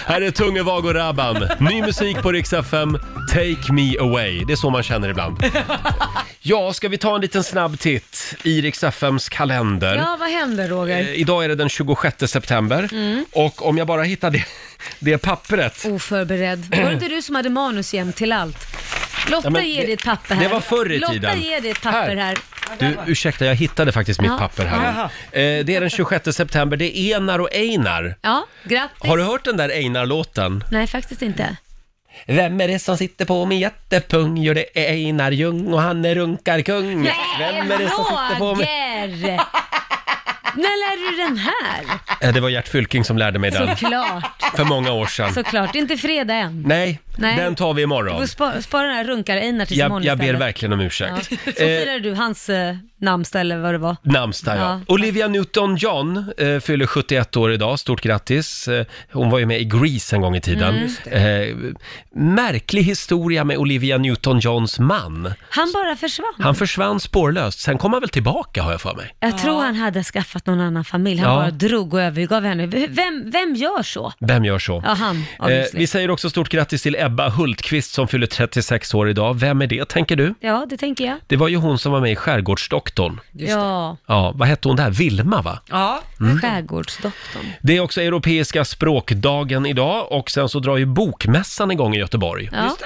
Speaker 1: Här är Tunge Vago Rabban. Ny musik på Rix FM. Take me away. Det är så man känner
Speaker 3: (laughs)
Speaker 1: ibland. Ja, ska vi ta en liten snabb titt i Rix FMs kalender?
Speaker 3: Ja, vad händer Roger?
Speaker 1: Eh, Idag är det den 26 september
Speaker 3: Mm.
Speaker 1: och om jag bara hittar det, (laughs) det pappret.
Speaker 3: Oförberedd. Var det inte du som hade manus jämt till allt? Lotta
Speaker 1: Ja, men
Speaker 3: ger
Speaker 1: det-
Speaker 3: dig ett papper här.
Speaker 1: det var förr i
Speaker 3: Lotta
Speaker 1: tiden.
Speaker 3: ger dig ett papper här.
Speaker 1: Du, ursäkta, jag hittade faktiskt mitt
Speaker 3: Ja.
Speaker 1: papper här.
Speaker 3: Jaha.
Speaker 1: Eh, Det är den 26 september, det är Enar och Einar.
Speaker 3: Ja, grattis.
Speaker 1: Har du hört den där Einar-låten?
Speaker 3: Nej, faktiskt inte.
Speaker 1: Vem är det som sitter på min jättepung? Jo, det är Einar Ljung och han är runkarkung. Vem är det som sitter på min...
Speaker 3: Roger! När lärde du den här?
Speaker 1: Eh, Det var Gert Fylking som lärde mig den.
Speaker 3: Såklart.
Speaker 1: För många år sedan.
Speaker 3: Såklart. Det är inte fredag än.
Speaker 1: Nej,
Speaker 3: Nej.
Speaker 1: den tar vi
Speaker 3: Du
Speaker 1: imorgon.
Speaker 3: får spara, spara den här runkar-Einar tills imorgon
Speaker 1: Jag, jag ber
Speaker 3: istället.
Speaker 1: verkligen om ursäkt.
Speaker 3: Ja. Så
Speaker 1: Eh,
Speaker 3: firar du hans eh, namnsdag eller vad det var.
Speaker 1: Namnsdag, ja.
Speaker 3: Ja.
Speaker 1: Olivia Newton-John eh, fyller 71 år idag. Stort grattis. Eh, hon var ju med i Grease en gång i tiden.
Speaker 3: Mm, just
Speaker 1: Eh, märklig historia med Olivia Newton-Johns man.
Speaker 3: Han bara försvann.
Speaker 1: Han försvann spårlöst, sen kom han väl tillbaka har jag för mig.
Speaker 3: Jag tror han hade skaffat någon annan familj. Han
Speaker 1: Ja.
Speaker 3: bara drog och övergav henne. Vem, vem gör så?
Speaker 1: Vem gör så?
Speaker 3: Ja, han.
Speaker 1: Eh,
Speaker 3: obviously.
Speaker 1: vi säger också stort grattis till Ebba Hultqvist som fyller 36 år idag. Vem är det, tänker du?
Speaker 3: Ja, det tänker jag.
Speaker 1: Det var ju hon som var med i Skärgårdsdoktorn.
Speaker 3: Ja,
Speaker 1: Ja, vad hette hon där? Vilma, va?
Speaker 2: ja.
Speaker 1: Mm.
Speaker 3: skärgårdsdoktorn.
Speaker 1: Det är också Europeiska språkdagen idag och sen så drar ju Bokmässan igång i Göteborg.
Speaker 3: Ja.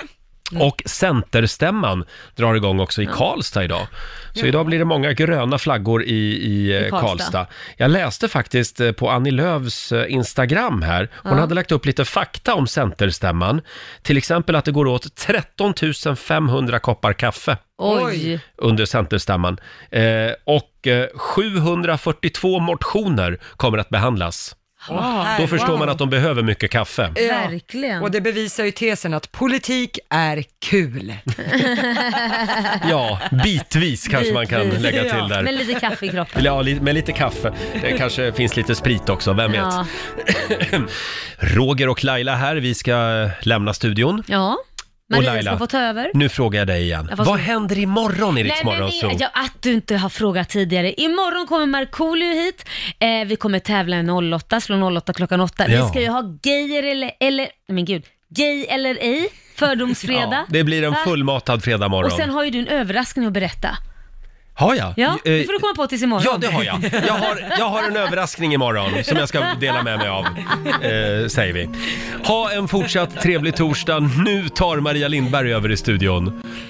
Speaker 1: Och Centerstämman drar igång också i Karlstad idag. Så idag blir det många gröna flaggor i, i, eh, Karlstad.
Speaker 3: Karlstad.
Speaker 1: Jag läste faktiskt eh, på Annie Lööfs eh, Instagram här. Hon
Speaker 3: Ja.
Speaker 1: hade lagt upp lite fakta om Centerstämman. Till exempel att det går åt 13 500 koppar kaffe
Speaker 3: Oj.
Speaker 1: under Centerstämman. Eh, och eh, 742 motioner kommer att behandlas.
Speaker 2: Åh,
Speaker 1: Då förstår
Speaker 2: wow.
Speaker 1: man att de behöver mycket
Speaker 3: (laughs)
Speaker 1: kaffe.
Speaker 2: Ja.
Speaker 3: Verkligen.
Speaker 2: Och det bevisar ju tesen att politik är kul.
Speaker 1: Ja, bitvis kanske man kan
Speaker 3: Bitvis.
Speaker 1: lägga till där.
Speaker 3: Med lite kaffe i
Speaker 1: (laughs)
Speaker 3: kroppen.
Speaker 1: Eller Ja, li- med lite kaffe. Det
Speaker 3: (laughs)
Speaker 1: kanske finns lite sprit också, vem vet? (clears throat)
Speaker 3: Ja.
Speaker 1: Roger och Laila här, vi ska eh, lämna studion.
Speaker 3: ja.
Speaker 1: Och
Speaker 3: Maria
Speaker 1: Laila,
Speaker 3: ska få ta över.
Speaker 1: nu frågar jag dig igen.
Speaker 3: Ja,
Speaker 1: Vad
Speaker 3: fast-
Speaker 1: händer imorgon i Rix
Speaker 3: Nej, men
Speaker 1: Morgon
Speaker 3: det,
Speaker 1: Zoo?
Speaker 3: ja, att du inte har frågat tidigare. Imorgon kommer Markoolio hit. Eh, vi kommer tävla en 08, slå 08 klockan 8.
Speaker 1: Ja.
Speaker 3: Vi ska ju ha gayer eller, eller, nej, men gud, gay eller ej, fördomsfredag.
Speaker 1: Det blir en
Speaker 3: Va?
Speaker 1: fullmatad fredag
Speaker 3: Och sen
Speaker 1: morgon.
Speaker 3: har ju du en överraskning att berätta.
Speaker 1: Har jag?
Speaker 3: Ja,
Speaker 1: Eh,
Speaker 3: det får du komma på tills imorgon.
Speaker 1: Ja, det har jag. Jag har, jag har en överraskning imorgon som jag ska dela med mig av, eh, säger vi. Ha en fortsatt trevlig torsdag. Nu tar Maria Lindberg över i studion.